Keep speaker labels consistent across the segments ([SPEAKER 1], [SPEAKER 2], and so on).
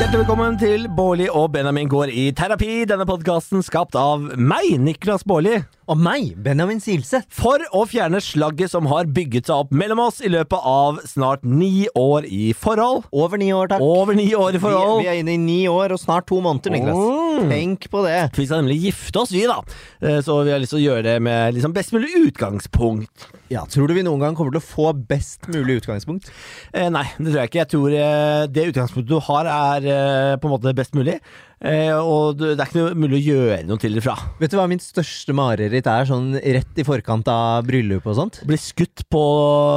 [SPEAKER 1] Hjertelig velkommen til Bårli og Benjamin går i terapi. Denne podkasten skapt av meg, Niklas Bårli.
[SPEAKER 2] Og meg, Benjamin Silseth.
[SPEAKER 1] For å fjerne slagget som har bygget seg opp mellom oss i løpet av snart ni år i forhold.
[SPEAKER 2] Over ni år, takk.
[SPEAKER 1] Over ni år i
[SPEAKER 2] vi,
[SPEAKER 1] forhold.
[SPEAKER 2] vi er inne i ni år og snart to måneder, Niklas.
[SPEAKER 1] Mm.
[SPEAKER 2] Tenk på det.
[SPEAKER 1] Vi skal nemlig gifte oss, vi, da. Eh, Så vi har lyst til å gjøre det med liksom best mulig utgangspunkt.
[SPEAKER 2] Ja, Tror du vi noen gang kommer til å få best mulig utgangspunkt?
[SPEAKER 1] Eh, Nei, det tror jeg ikke. Jeg tror eh, det utgangspunktet du har, er eh, på en måte best mulig. Eh, Og du- det er ikke noe mulig å gjøre noe til det fra.
[SPEAKER 2] Vet du hva mitt største mareritt er sånn rett i forkant av bryllup og sånt?
[SPEAKER 1] Bli skutt på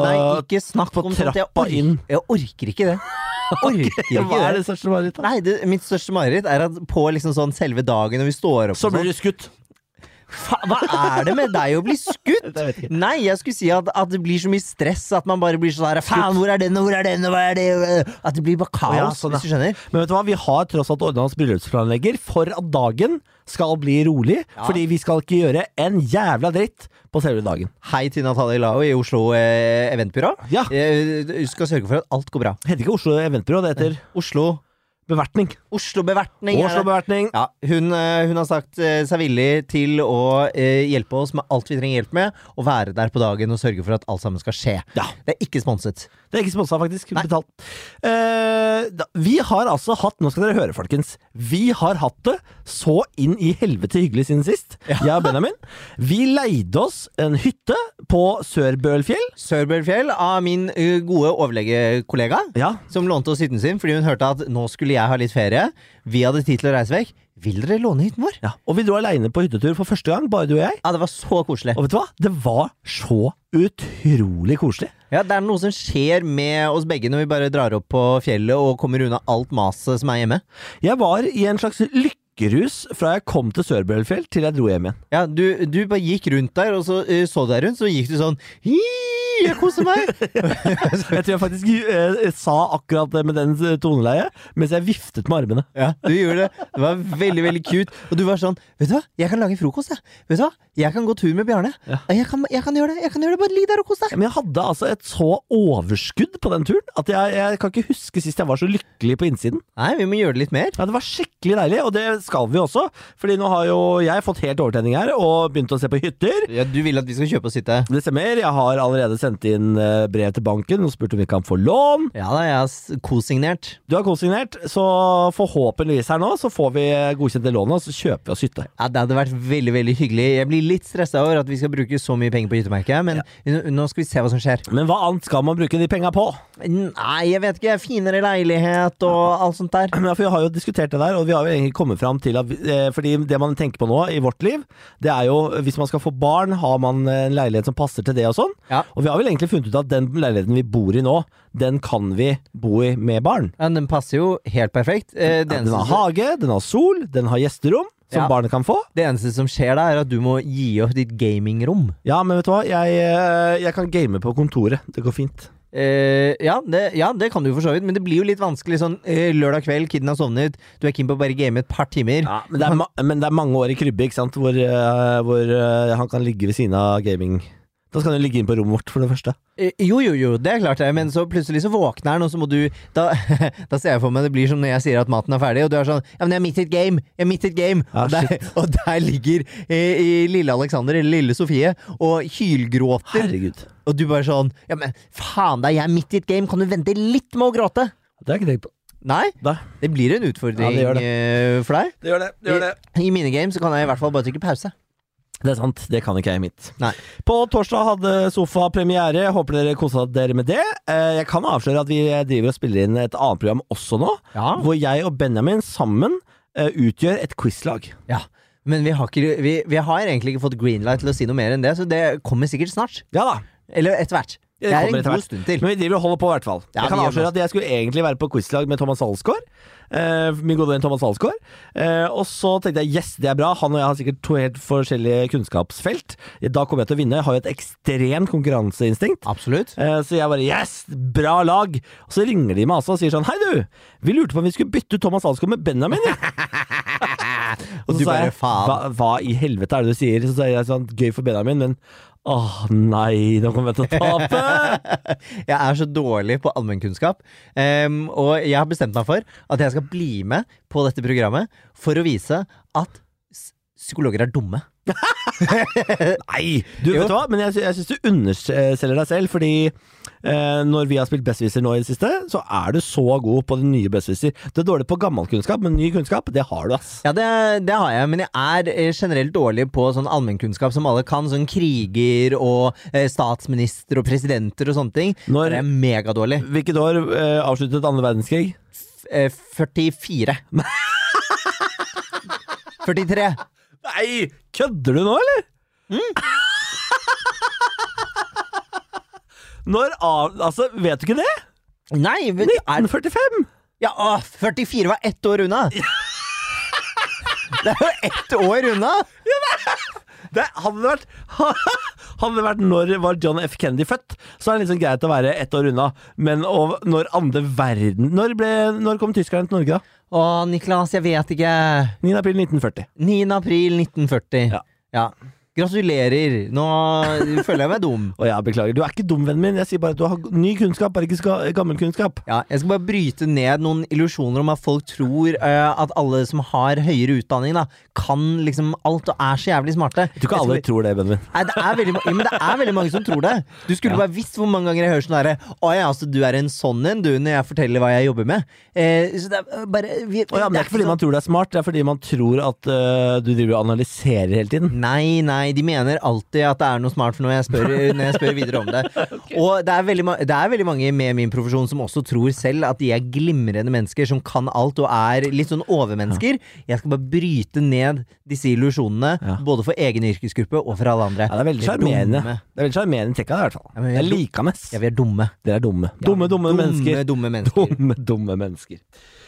[SPEAKER 2] Nei, ikke snakk
[SPEAKER 1] på
[SPEAKER 2] om sånt. Jeg,
[SPEAKER 1] trappa inn.
[SPEAKER 2] jeg orker ikke det. Jeg orker
[SPEAKER 1] Hva
[SPEAKER 2] ikke
[SPEAKER 1] er
[SPEAKER 2] det.
[SPEAKER 1] det største marerittet?
[SPEAKER 2] Nei, det, Mitt største mareritt er at på liksom sånn selve dagen når vi står opp
[SPEAKER 1] Så
[SPEAKER 2] og
[SPEAKER 1] blir
[SPEAKER 2] sånn
[SPEAKER 1] du skutt.
[SPEAKER 2] Fa, Hva er det med deg å bli skutt?
[SPEAKER 1] Jeg vet ikke.
[SPEAKER 2] Nei, jeg skulle si at, at det blir så mye stress at man bare blir sånn her Faen, hvor er den, og hvor er den, og hva er det At det blir bare kaos,
[SPEAKER 1] Ja, sånn, ja.
[SPEAKER 2] hvis du skjønner.
[SPEAKER 1] Men vet du hva, vi har tross alt ordna oss bryllupsplanlegger for at dagen skal bli rolig.
[SPEAKER 2] Ja.
[SPEAKER 1] Fordi vi skal ikke gjøre en jævla dritt på selve dagen.
[SPEAKER 2] Hei til Natalie Lao i Oslo eh, Eventbyrå.
[SPEAKER 1] Ja.
[SPEAKER 2] Eh, Du skal sørge for at alt går bra.
[SPEAKER 1] Det heter ikke Oslo Eventbyrå, det heter
[SPEAKER 2] Oslo
[SPEAKER 1] bevertning.
[SPEAKER 2] Oslo Bevertning. er det.
[SPEAKER 1] Oslo bevertning.
[SPEAKER 2] Ja, hun, eh, hun har sagt eh, seg villig til å eh, hjelpe oss med alt vi trenger hjelp med, og være der på dagen og sørge for at alt sammen skal skje.
[SPEAKER 1] Ja.
[SPEAKER 2] Det er ikke sponset.
[SPEAKER 1] Det er ikke sponsa, faktisk. Betalt. Eh, da, vi har altså hatt Nå skal dere høre, folkens. Vi har hatt det så inn i helvete hyggelig siden sist. Jeg og Benjamin. Vi leide oss en hytte på Sørbølfjell.
[SPEAKER 2] Sørbølfjell av min eh, gode overlegekollega.
[SPEAKER 1] Ja,
[SPEAKER 2] som lånte oss hytten sin fordi hun hørte at nå skulle jeg ha litt ferie. Vi hadde tid til å reise vekk. Vil dere låne hytten vår?
[SPEAKER 1] ja. Og vi dro aleine på hyttetur for første gang, bare du og jeg.
[SPEAKER 2] Ja, det var så koselig.
[SPEAKER 1] Og vet du hva? Det var så utrolig koselig.
[SPEAKER 2] Ja, Det er noe som skjer med oss begge når vi bare drar opp på fjellet og kommer unna alt maset som er hjemme.
[SPEAKER 1] Jeg var i en slags lykkerus fra jeg kom til Sørbølfjell til jeg dro hjem igjen.
[SPEAKER 2] Ja, Du, du bare gikk rundt der, og så eh, så du deg rundt, så gikk du sånn Hi, jeg koser meg!
[SPEAKER 1] Jeg tror jeg faktisk eh, sa akkurat det med den eh, toneleie mens jeg viftet med armene.
[SPEAKER 2] Ja, du gjorde det. Det var veldig veldig cute. Og du var sånn Vet du hva, jeg kan lage frokost, jeg. Vet du hva, jeg kan gå tur med Bjarne.
[SPEAKER 1] Ja.
[SPEAKER 2] Jeg, kan, jeg kan gjøre det. jeg kan gjøre det, Bare ligg der og kos deg.
[SPEAKER 1] Men jeg hadde altså et så overskudd på den turen at jeg, jeg kan ikke huske sist jeg var så lykkelig på innsiden.
[SPEAKER 2] Nei, vi må gjøre det litt mer.
[SPEAKER 1] Ja, Det var skikkelig deilig, og det skal vi også. Fordi nå har jo jeg fått helt overtenning her og begynt å se på hytter.
[SPEAKER 2] Ja, Du vil at vi skal kjøpe oss hytte?
[SPEAKER 1] Det stemmer. Jeg har allerede sendt inn eh, brev til banken og spurt om vi kan få lån.
[SPEAKER 2] Ja da, jeg har s- kosignert.
[SPEAKER 1] Du har konsignert, så forhåpentligvis her nå så får vi godkjent det lånet, og så kjøper vi oss hytte.
[SPEAKER 2] Ja, det hadde vært veldig veldig hyggelig. Jeg blir litt stressa over at vi skal bruke så mye penger på hyttemerket, men n- nå skal vi se hva som skjer.
[SPEAKER 1] Men hva annet skal man bruke de penga på?
[SPEAKER 2] Nei, jeg vet ikke. Finere leilighet og alt sånt der.
[SPEAKER 1] Ja, for Vi har jo diskutert det der, og vi har jo egentlig kommet fram til at vi- eh, Fordi det man tenker på nå i vårt liv, det er jo hvis man skal få barn, har man en leilighet som passer til det og sånn.
[SPEAKER 2] Ja.
[SPEAKER 1] Og vi har vel egentlig funnet ut at den leiligheten vi bor i nå, den kan vi bo i med barn.
[SPEAKER 2] Ja, den passer jo helt perfekt. Eh, det,
[SPEAKER 1] Den har
[SPEAKER 2] eneste som,
[SPEAKER 1] hage, den har sol, den har gjesterom. Som
[SPEAKER 2] Ja.
[SPEAKER 1] barnet kan få.
[SPEAKER 2] det eneste som skjer da, er at du må gi opp ditt gamingrom.
[SPEAKER 1] Ja, men vet du hva? Jeg, eh, jeg kan game på kontoret. Det går fint.
[SPEAKER 2] Eh, ja, det, ja, det kan du jo for så vidt, men det blir jo litt vanskelig sånn eh, lørdag kveld, kiden har sovnet, du er keen på å bare game et par timer.
[SPEAKER 1] Ja, men, det er ma men det er mange år i krybbe, ikke sant? Hvor, eh, hvor eh, han kan ligge ved siden av gaming. Da skal han jo ligge inn på rommet vårt, for det første.
[SPEAKER 2] Eh, Jo, jo, jo, det er klart det, men så plutselig så våkner han, og så må du da, da ser jeg for meg det blir som når jeg sier at maten er ferdig, og du er sånn Ja, men jeg er midt i et game! Jeg er midt i et game!
[SPEAKER 1] Ja,
[SPEAKER 2] og, der, og der ligger eh, i lille Alexander, eller lille Sofie, og hylgråter,
[SPEAKER 1] Herregud.
[SPEAKER 2] og du bare sånn Ja, men faen da, jeg er midt i et game! Kan du vente litt med å gråte?
[SPEAKER 1] Det har jeg ikke tenkt på.
[SPEAKER 2] Nei,
[SPEAKER 1] Da.
[SPEAKER 2] det blir en utfordring
[SPEAKER 1] Ja, det gjør
[SPEAKER 2] eh, for deg.
[SPEAKER 1] Det gjør det.
[SPEAKER 2] I, I mine games så kan jeg i hvert fall bare trykke pause.
[SPEAKER 1] Det er sant. Det kan ikke jeg i mitt.
[SPEAKER 2] Nei.
[SPEAKER 1] På torsdag hadde Sofa premiere. Håper dere kosa dere med det. Eh, Jeg kan avsløre at vi driver og spiller inn et annet program også nå,
[SPEAKER 2] Ja.
[SPEAKER 1] hvor jeg og Benjamin sammen eh, utgjør et quizlag.
[SPEAKER 2] ja. Men vi har, ikke, vi, vi har egentlig ikke fått greenlight til å si noe mer enn det, så det kommer sikkert snart.
[SPEAKER 1] Ja da.
[SPEAKER 2] Eller etter hvert.
[SPEAKER 1] Det
[SPEAKER 2] Det er
[SPEAKER 1] kommer
[SPEAKER 2] en
[SPEAKER 1] etter
[SPEAKER 2] god
[SPEAKER 1] hvert.
[SPEAKER 2] stund til.
[SPEAKER 1] Men vi driver og holder på, i hvert fall.
[SPEAKER 2] Ja,
[SPEAKER 1] jeg kan
[SPEAKER 2] vi gjør
[SPEAKER 1] avsløre
[SPEAKER 2] det.
[SPEAKER 1] at jeg skulle egentlig være på quizlag med Thomas Alsgaard. Eh, min gode venn Thomas Alsgaard. Eh, og så tenkte jeg yes, det er bra. Han og jeg har sikkert to helt forskjellige kunnskapsfelt. Da kommer jeg til å vinne. Jeg har jo et ekstremt konkurranseinstinkt.
[SPEAKER 2] Absolutt.
[SPEAKER 1] Eh, Så jeg bare yes, bra lag! Og så ringer de meg altså og sier sånn hei du, vi lurte på om vi skulle bytte ut Thomas Alsgaard med Benjamin. ja.» Og
[SPEAKER 2] Og
[SPEAKER 1] så
[SPEAKER 2] du
[SPEAKER 1] sa
[SPEAKER 2] bare,
[SPEAKER 1] jeg
[SPEAKER 2] faen.
[SPEAKER 1] hva, hva i helvete er det du sier? Så sa jeg sånn gøy for Benjamin, men åh nei, nå kommer jeg til å tape!
[SPEAKER 2] Jeg er så dårlig på allmennkunnskap. Em, og jeg har bestemt meg for at jeg skal bli med på dette programmet for å vise at s- psykologer er dumme.
[SPEAKER 1] Nei! Du,
[SPEAKER 2] Jo.
[SPEAKER 1] vet du hva? Men jeg, sy- jeg syns du underselger deg selv, fordi eh, når vi har spilt Bestviser nå i det siste, så er du så god på den nye Bestviser. Du er dårlig på gammel kunnskap, men ny kunnskap, det har du, ass.
[SPEAKER 2] Ja, det, det har jeg, men jeg er eh, generelt dårlig på sånn allmennkunnskap som alle kan. Sånn kriger og eh, statsminister og presidenter og sånne ting.
[SPEAKER 1] Når-
[SPEAKER 2] Der er jeg megadårlig.
[SPEAKER 1] Hvilket år eh, avsluttet andre verdenskrig?
[SPEAKER 2] F- eh, 44. 43.
[SPEAKER 1] Nei, kødder du nå, eller? Mm. Når av... Altså, vet du ikke det?
[SPEAKER 2] Nei, men er,
[SPEAKER 1] 1945!
[SPEAKER 2] ja, å, 44 var ett år unna! Det er jo ett år unna!
[SPEAKER 1] Det hadde det vært Hadde det vært når var John F. Kennedy født, så er det liksom greit å være ett år unna. Men å- når andre verden Når, ble, når kom tyskerne til Norge, da?
[SPEAKER 2] Å, Niklas, jeg vet ikke.
[SPEAKER 1] 9. april 1940.
[SPEAKER 2] 9. april 1940.
[SPEAKER 1] Ja.
[SPEAKER 2] ja. Gratulerer. Nå føler jeg meg dum.
[SPEAKER 1] Og jeg beklager. Du er ikke dum, vennen min. Jeg sier bare at du har ny kunnskap, bare ikke ska- gammel kunnskap.
[SPEAKER 2] Ja, jeg skal bare bryte ned noen illusjoner om at folk tror eh, at alle som har høyere utdanning, da, kan liksom alt og er så jævlig smarte.
[SPEAKER 1] Jeg tror ikke alle
[SPEAKER 2] skal-
[SPEAKER 1] tror det, Benjamin.
[SPEAKER 2] Nei, det er, veldig, ma- ja, men det er veldig mange som tror det. Du skulle bare visst hvor mange ganger jeg hører sånn herre Å ja, altså, du er en sånn en, du, når jeg forteller hva jeg jobber med. Eh, så det er eh, bare vi,
[SPEAKER 1] Å ja, men det er ikke fordi
[SPEAKER 2] sånn-
[SPEAKER 1] man tror du er smart, det er fordi man tror at øh, du driver og analyserer hele tiden.
[SPEAKER 2] Nei, nei, de mener alltid at det er noe smart for når jeg spør, når jeg spør videre om det. Og det er, veldig, ma- det er veldig mange med min profesjon som også tror selv at de er glimrende mennesker som kan alt og er litt sånn overmennesker. Jeg skal bare bryte ned disse illusjonene,
[SPEAKER 1] Ja.
[SPEAKER 2] både for egen yrkesgruppe og for alle andre.
[SPEAKER 1] Ja, det er veldig
[SPEAKER 2] Vi
[SPEAKER 1] sjarmerende.
[SPEAKER 2] dumme.
[SPEAKER 1] Det er veldig sjarmerende trekk av det, i hvert fall.
[SPEAKER 2] Ja, men vi er
[SPEAKER 1] jeg
[SPEAKER 2] dum-
[SPEAKER 1] liker mest.
[SPEAKER 2] Ja, vi er dumme.
[SPEAKER 1] Dere er dumme. Dumme, dumme, mennesker.
[SPEAKER 2] Dumme, mennesker.
[SPEAKER 1] Dumme, dumme mennesker.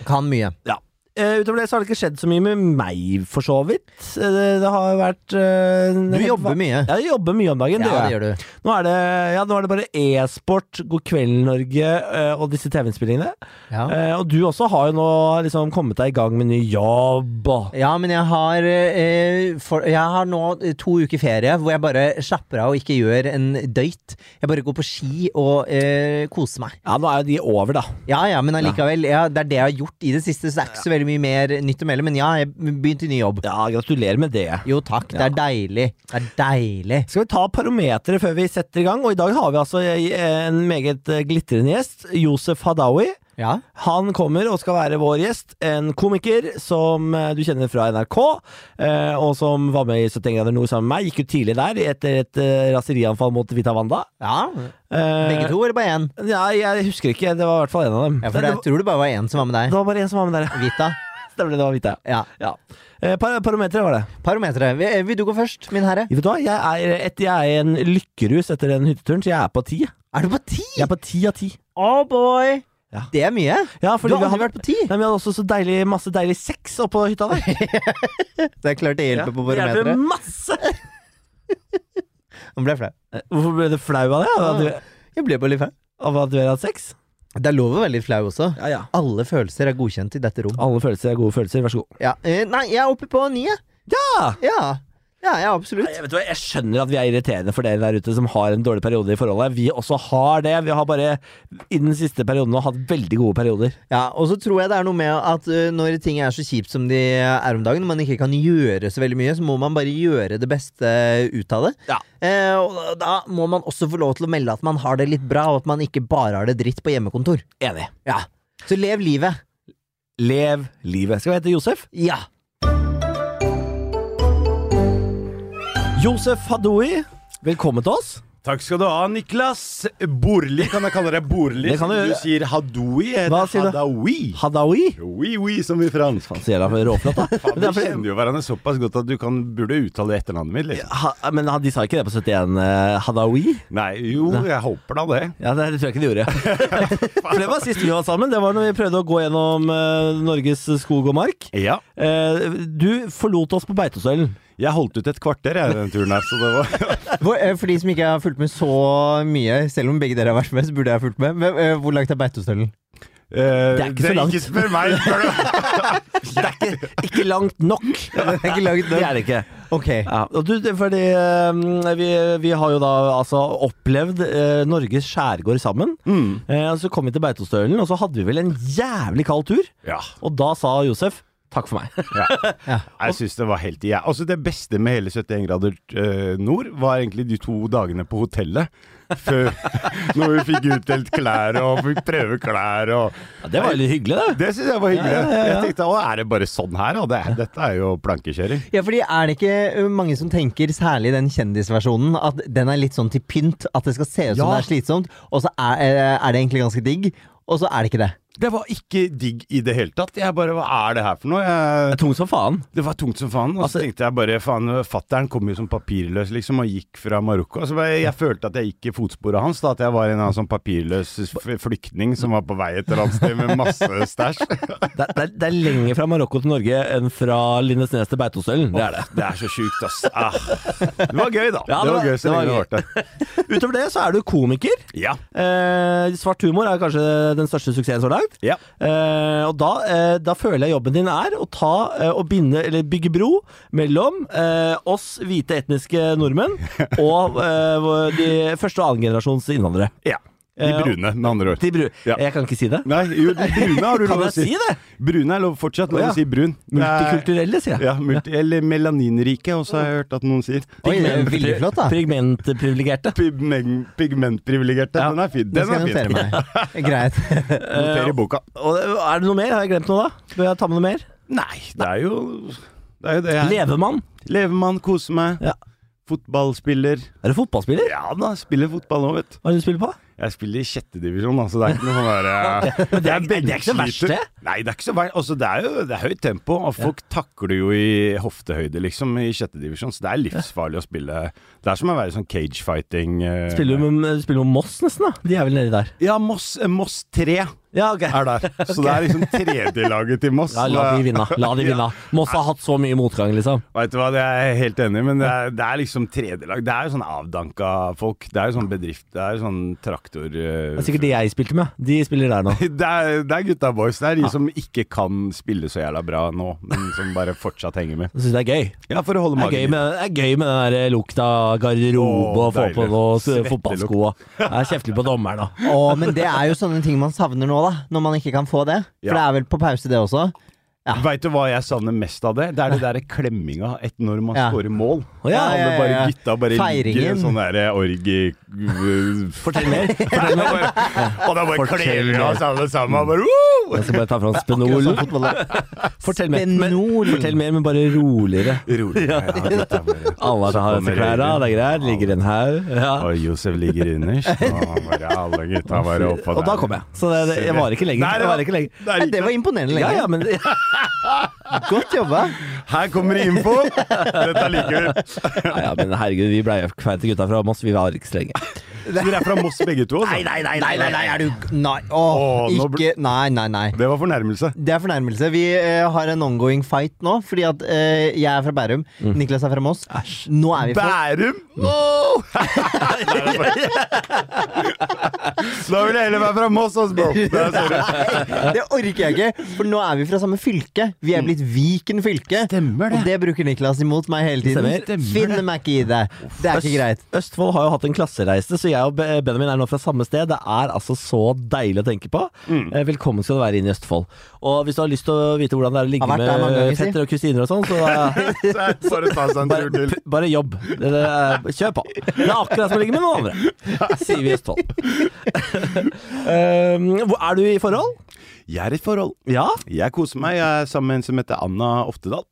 [SPEAKER 2] Kan mye.
[SPEAKER 1] Ja. Eh, utover det så har det ikke skjedd så mye med meg, for så vidt. Eh, det, det har jo vært eh,
[SPEAKER 2] Du
[SPEAKER 1] helt
[SPEAKER 2] jobber
[SPEAKER 1] va-
[SPEAKER 2] mye.
[SPEAKER 1] Ja, jeg jobber mye om dagen.
[SPEAKER 2] Ja, det
[SPEAKER 1] gjør jeg.
[SPEAKER 2] gjør du.
[SPEAKER 1] Nå, er det, ja, nå er det bare e-sport, God kveld Norge eh, og disse TV-innspillingene.
[SPEAKER 2] Ja.
[SPEAKER 1] Eh, og du også har jo nå liksom kommet deg i gang med ny jobb. og-
[SPEAKER 2] Ja, men jeg har, eh, for, jeg har nå eh, to uker ferie hvor jeg bare slapper av og ikke gjør en døyt. Jeg bare går på ski og eh, koser meg.
[SPEAKER 1] Ja, nå er jo de over, da.
[SPEAKER 2] Ja ja, men allikevel. Ja, det er det jeg har gjort i det siste, så det er ikke så veldig mye mer nytt å melde. Men ja, jeg begynte i ny jobb.
[SPEAKER 1] Ja, gratulerer med det.
[SPEAKER 2] Jo takk, det er deilig. Det er deilig.
[SPEAKER 1] Skal vi ta parometeret før vi setter i gang? Og i dag har vi altså eh, en meget eh, glitrende gjest. Josef Hadaoui.
[SPEAKER 2] Ja.
[SPEAKER 1] Han kommer og skal være vår gjest. En komiker som eh, du kjenner fra NRK, eh, og som var med i 71 grader nord sammen med meg. Gikk ut tidlig der etter et eh, raserianfall mot Vita Wanda.
[SPEAKER 2] ja.
[SPEAKER 1] Eh,
[SPEAKER 2] Begge to, eller bare én?
[SPEAKER 1] Ja, jeg husker ikke. Det var i hvert fall en av dem.
[SPEAKER 2] Ja, for det,
[SPEAKER 1] det,
[SPEAKER 2] jeg tror det bare var én som var med
[SPEAKER 1] det
[SPEAKER 2] deg.
[SPEAKER 1] var bare en som var med der.
[SPEAKER 2] Vita.
[SPEAKER 1] Stemmer det, det var Vita.
[SPEAKER 2] Ja.
[SPEAKER 1] Ja. Eh, par parometeret var det.
[SPEAKER 2] Parometeret. Vil, vil du gå først, min herre?
[SPEAKER 1] Vet du hva? Jeg er, et, jeg er i en lykkerus etter den hytteturen, så jeg er på ti.
[SPEAKER 2] Er du på ti?
[SPEAKER 1] Jeg er på ti av ti.
[SPEAKER 2] Oh boy!
[SPEAKER 1] Ja.
[SPEAKER 2] Det er mye.
[SPEAKER 1] Ja,
[SPEAKER 2] Du
[SPEAKER 1] fordi
[SPEAKER 2] har
[SPEAKER 1] vi
[SPEAKER 2] aldri
[SPEAKER 1] hadde,
[SPEAKER 2] vært på ti.
[SPEAKER 1] Nei, men vi hadde også så deilig, masse deilig sex oppå hytta der.
[SPEAKER 2] Det er klart det hjelper på
[SPEAKER 1] Ja, det hjelper
[SPEAKER 2] barometeret.
[SPEAKER 1] masse!
[SPEAKER 2] Han ble flau.
[SPEAKER 1] Hvorfor ble du flau av det? Av at du,
[SPEAKER 2] Jeg ble bare litt flau.
[SPEAKER 1] av at du har hatt sex?
[SPEAKER 2] Det er lov å være litt flau også.
[SPEAKER 1] Ja, ja.
[SPEAKER 2] Alle følelser er godkjent i dette rom.
[SPEAKER 1] Alle følelser er gode følelser, vær så god.
[SPEAKER 2] Ja. eh, nei, jeg er oppe på ni, jeg.
[SPEAKER 1] Ja!
[SPEAKER 2] Ja. ja, ja, absolutt.
[SPEAKER 1] Jeg, vet du, hva, jeg skjønner at vi er irriterende for dere der ute som har en dårlig periode i forholdet. Vi også har det. Vi har bare i den siste perioden nå hatt veldig gode perioder.
[SPEAKER 2] Ja, Og så tror jeg det er noe med at eh, når ting er så kjipt som de er om dagen, og man ikke kan gjøre så veldig mye, så må man bare gjøre det beste ut av det.
[SPEAKER 1] Ja.
[SPEAKER 2] Eh, og da må man også få lov til å melde at man har det litt bra, og at man ikke bare har det dritt på hjemmekontor.
[SPEAKER 1] Enig.
[SPEAKER 2] Ja. Så lev livet.
[SPEAKER 1] Lev livet. Skal vi hete Josef?
[SPEAKER 2] Ja.
[SPEAKER 1] Josef Hadoui, velkommen til oss.
[SPEAKER 3] Takk skal du ha, Niklas. Borli, kan jeg kalle deg Borli?
[SPEAKER 1] Det kan du
[SPEAKER 3] du
[SPEAKER 1] gjøre.
[SPEAKER 3] sier hadoui. jeg
[SPEAKER 1] Hva
[SPEAKER 3] heter
[SPEAKER 1] sier du?
[SPEAKER 3] Hadaoui.
[SPEAKER 1] Hadaoui.
[SPEAKER 3] Oui, oui, som i fransk.
[SPEAKER 1] Så jævla råflott, da. Men
[SPEAKER 3] Faen, vi
[SPEAKER 1] det er fordi-
[SPEAKER 3] kjenner jo hverandre såpass godt at du kan, burde uttale etternavnet mitt. Liksom.
[SPEAKER 1] ha, men han- de sa ikke det på 71 eh, Hadaoui?
[SPEAKER 3] Nei, jo, jeg håper da det.
[SPEAKER 1] Ja, det, det tror jeg ikke de gjorde. For det var sist vi var sammen. Det var når vi prøvde å gå gjennom eh, Norges skog og mark.
[SPEAKER 3] Ja.
[SPEAKER 1] Eh, du forlot oss på Beitostølen.
[SPEAKER 3] Jeg holdt ut et kvarter, jeg, den turen her, så det var
[SPEAKER 2] Hvor, eh, for de som ikke har fulgt med så mye, selv om begge dere har vært med, så burde jeg ha fulgt med. Hvem- eh, Hvor langt er Beitostølen?
[SPEAKER 3] Eh,
[SPEAKER 1] Det er ikke så langt.
[SPEAKER 3] Ikke spør meg. Spør du.
[SPEAKER 1] Det er ikke, ikke langt nok.
[SPEAKER 2] Det er ikke laget
[SPEAKER 1] Det er det ikke.
[SPEAKER 2] Ok.
[SPEAKER 1] Ja, og du, det er fordi eh, vi, vi har jo da altså opplevd eh, Norges skjærgård sammen. Eh, og så kom vi til Beitostølen, og så hadde vi vel en jævlig kald tur.
[SPEAKER 3] Ja.
[SPEAKER 1] Og da sa Josef takk for meg.
[SPEAKER 3] Jeg syns det var helt i ja. Altså Det beste med hele 71 grader eh, nord, var egentlig de to dagene på hotellet. Før, når vi fikk utdelt klær og fikk prøve klær og
[SPEAKER 1] Ja, det var veldig hyggelig, det.
[SPEAKER 3] Det syns jeg var hyggelig. Jeg tenkte å, er det bare sånn her, da? Det, dette er jo plankekjøring.
[SPEAKER 2] Ja, fordi er det ikke ø, mange som tenker, særlig den kjendisversjonen, at den er litt sånn til pynt, at det skal se ut som
[SPEAKER 3] Ja.
[SPEAKER 2] det er slitsomt, og så er, ø, er det egentlig ganske digg, og så er det ikke det.
[SPEAKER 3] Det var ikke digg i det hele tatt. Jeg bare Hva er det her for noe?
[SPEAKER 1] Det
[SPEAKER 3] Jeg,
[SPEAKER 1] er tungt som faen.
[SPEAKER 3] det var tungt som faen. Og så
[SPEAKER 1] Altså-
[SPEAKER 3] tenkte jeg bare faen, fattern kom jo som papirløs, liksom, og gikk fra Marokko. Altså, jeg, jeg følte at jeg gikk i fotsporet hans, da, at jeg var en av sånn papirløs f- flyktning som var på vei et eller annet sted med masse stæsj.
[SPEAKER 1] Det, er- det, er- det er lenger fra Marokko til Norge enn fra Lindesnes til Beitostølen. Det er det.
[SPEAKER 3] Det er så sjukt, ass. Ah. Det var gøy, da.
[SPEAKER 1] Ja,
[SPEAKER 3] det, var, gøy
[SPEAKER 1] det
[SPEAKER 3] så
[SPEAKER 1] var
[SPEAKER 3] lenge det
[SPEAKER 1] gøy.
[SPEAKER 3] varte.
[SPEAKER 1] Utover det så er du komiker.
[SPEAKER 3] Ja.
[SPEAKER 1] Eh, svart humor er kanskje den største suksessen så langt.
[SPEAKER 3] Ja.
[SPEAKER 1] Eh, og da, eh, da føler jeg jobben din er å ta eh, og binde, eller bygge bro mellom eh, oss hvite etniske nordmenn og eh, vår- de første og annen generasjons innvandrere.
[SPEAKER 3] ja. De
[SPEAKER 1] Eh,
[SPEAKER 3] brune, med andre ord.
[SPEAKER 1] De bru
[SPEAKER 3] Ja.
[SPEAKER 1] Jeg kan ikke si det.
[SPEAKER 3] Nei, jo, de brune har du
[SPEAKER 1] Kan
[SPEAKER 3] lov å
[SPEAKER 1] jeg si det?
[SPEAKER 3] Brune er lov fortsatt lov
[SPEAKER 1] Å, ja.
[SPEAKER 3] å si brun. Det er-
[SPEAKER 1] Multikulturelle, sier jeg.
[SPEAKER 3] Ja, multi, eller melaninrike også har jeg hørt at noen sier.
[SPEAKER 2] Oi, det er veldig flott da.
[SPEAKER 1] Pigmentprivilegerte.
[SPEAKER 3] Pigmen- Pigmentprivilegerte. Den er fin.
[SPEAKER 2] Det
[SPEAKER 3] Den
[SPEAKER 2] skal
[SPEAKER 3] er
[SPEAKER 2] jeg notere
[SPEAKER 3] fin.
[SPEAKER 2] meg. Greit.
[SPEAKER 3] Noter i boka.
[SPEAKER 1] Og det- Er det noe mer? Har jeg glemt noe da? Bør jeg ta med noe mer?
[SPEAKER 3] Eh, Nei, det er jo det er jo det jeg
[SPEAKER 1] Levemann.
[SPEAKER 3] Levemann, kose meg.
[SPEAKER 1] Ja.
[SPEAKER 3] Fotballspiller.
[SPEAKER 1] Er du fotballspiller?
[SPEAKER 3] Ja da, spiller fotball nå, vet du.
[SPEAKER 1] Hva er det du spiller på?
[SPEAKER 3] Jeg spiller i sjette divisjon, altså. Det er ikke noe sånn derre
[SPEAKER 1] det er- det er ikke så verst, det.
[SPEAKER 3] Nei, det er ikke så verst. Altså, det er jo det er høyt tempo, og folk takler jo i hoftehøyde, liksom, i sjette divisjon. Så det er livsfarlig å spille. Det er som å være sånn cagefighting eh,
[SPEAKER 1] Spiller du med, spiller du med Moss nesten, da? De er vel nedi der.
[SPEAKER 3] Ja, Moss, eh, Moss 3.
[SPEAKER 1] Ja, ok.
[SPEAKER 3] er der. Så det er liksom tredjelaget til Moss.
[SPEAKER 1] Ja, la de vinne. La de vinne. Moss har hatt så mye motgang, liksom.
[SPEAKER 3] Vet du hva, det er jeg helt enig i, men det er, det er liksom tredjelag. Det er jo sånn avdanka folk. Det er jo sånn bedrift, det er jo sånn traktor... eh,
[SPEAKER 1] Det er sikkert de jeg spilte med. De spiller der nå.
[SPEAKER 3] det er, det er gutta boys. Det er de som ikke kan spille så jævla bra nå, men som bare fortsatt henger med.
[SPEAKER 1] Jeg syns det er gøy.
[SPEAKER 3] Ja, for å holde
[SPEAKER 1] Det er gøy
[SPEAKER 3] magen
[SPEAKER 1] med, det er gøy med den der lukta av garderobe
[SPEAKER 3] Åh,
[SPEAKER 1] og få
[SPEAKER 3] deilig.
[SPEAKER 1] på noe
[SPEAKER 3] Svettelukt.
[SPEAKER 1] fotballsko. Jeg er kjeftelig på dommeren da.
[SPEAKER 2] Å, men det er jo sånne ting man savner nå, da. Når man ikke kan få det. For
[SPEAKER 3] Ja.
[SPEAKER 2] det er vel på pause, det også.
[SPEAKER 3] Veit du hva jeg savner mest av det? Det er det derre klemminga et når man
[SPEAKER 2] Ja.
[SPEAKER 3] scorer mål.
[SPEAKER 1] Å, ja,
[SPEAKER 3] Alle
[SPEAKER 2] ja, ja,
[SPEAKER 3] bare
[SPEAKER 2] ja.
[SPEAKER 3] gutta bare ligger i en
[SPEAKER 2] Feiringen.
[SPEAKER 3] sånn derre orgi...
[SPEAKER 1] Fortell mer.
[SPEAKER 3] Fortell meg bare, og eh, da bare
[SPEAKER 1] Fortell
[SPEAKER 3] kler vi
[SPEAKER 1] meg.
[SPEAKER 3] oss alle sammen. og Bare, «Woo!»
[SPEAKER 1] Jeg skal bare ta fram
[SPEAKER 2] Akkurat
[SPEAKER 1] spenolen.
[SPEAKER 2] sånn fotball er.
[SPEAKER 1] Fortell mer, men,
[SPEAKER 2] Spenol.
[SPEAKER 1] fortell mer, men bare roligere.
[SPEAKER 3] Rolig. Ja, gutta bare.
[SPEAKER 1] Alle har seg klær av, det er greit. Ligger i en haug. Ja.
[SPEAKER 3] Og Josef ligger innerst. Og bare alle gutta bare oppå
[SPEAKER 1] Og da kom jeg. Så det, det, jeg varer ikke lenger.
[SPEAKER 3] Nei, det
[SPEAKER 1] Jeg
[SPEAKER 3] var-
[SPEAKER 1] varer ikke lenger.
[SPEAKER 3] Der
[SPEAKER 2] Men
[SPEAKER 3] gikk
[SPEAKER 2] Det var imponerende
[SPEAKER 1] Ja,
[SPEAKER 2] lenge.
[SPEAKER 1] ja, men
[SPEAKER 2] Godt jobba.
[SPEAKER 3] Her kommer det info! Dette liker vi.
[SPEAKER 1] Ja, ja, men herregud, vi blei kveite gutta fra Moss, vi var ikke så lenge.
[SPEAKER 3] Så dere er fra Moss begge to? Altså.
[SPEAKER 1] nei,
[SPEAKER 2] Nei, nei, nei, er du Nei, åh,
[SPEAKER 3] Åh, nå
[SPEAKER 2] ikke Nei, nei, nei.
[SPEAKER 3] Det var fornærmelse.
[SPEAKER 2] Det er fornærmelse. Vi eh, har en ongoing fight nå, fordi at eh, jeg er fra Bærum,
[SPEAKER 3] Mm.
[SPEAKER 2] Niklas er fra Moss. Nå er vi fra
[SPEAKER 3] Bærum! Åh! Nei, det er bare- da vil jeg heller være fra Moss, ass, bro. Det er sorry.
[SPEAKER 2] Det orker jeg ikke, for nå er vi fra samme fylke. Vi er blitt Viken fylke.
[SPEAKER 3] Mm. Stemmer det.
[SPEAKER 2] Og det bruker Niklas imot meg hele tiden.
[SPEAKER 1] Stemmer.
[SPEAKER 3] Stemmer
[SPEAKER 2] Finner
[SPEAKER 3] det.
[SPEAKER 2] meg ikke i det. Det er ikke greit.
[SPEAKER 1] Østfold har jo hatt en klassereise, så jeg og Be- Benjamin er nå fra samme sted. Det er altså så deilig å tenke på.
[SPEAKER 2] Mm.
[SPEAKER 1] Eh, Velkommen skal du være inn i Østfold. Og hvis du har lyst til å vite hvordan det er å ligge
[SPEAKER 2] Har vært der mange
[SPEAKER 1] med
[SPEAKER 2] ganger, si.
[SPEAKER 1] fetter og kusiner og sånn, så da,
[SPEAKER 3] Så er det Bare ta seg en tur
[SPEAKER 1] bare,
[SPEAKER 3] til.
[SPEAKER 1] bare jobb. Det er- Kjør på. Det er akkurat som å ligge med noen andre, sier vi i Østfold. Um, hvor- er du i forhold?
[SPEAKER 3] Jeg er i et forhold.
[SPEAKER 1] Ja.
[SPEAKER 3] Jeg koser meg. Jeg er sammen med en som heter Anna Oftedal.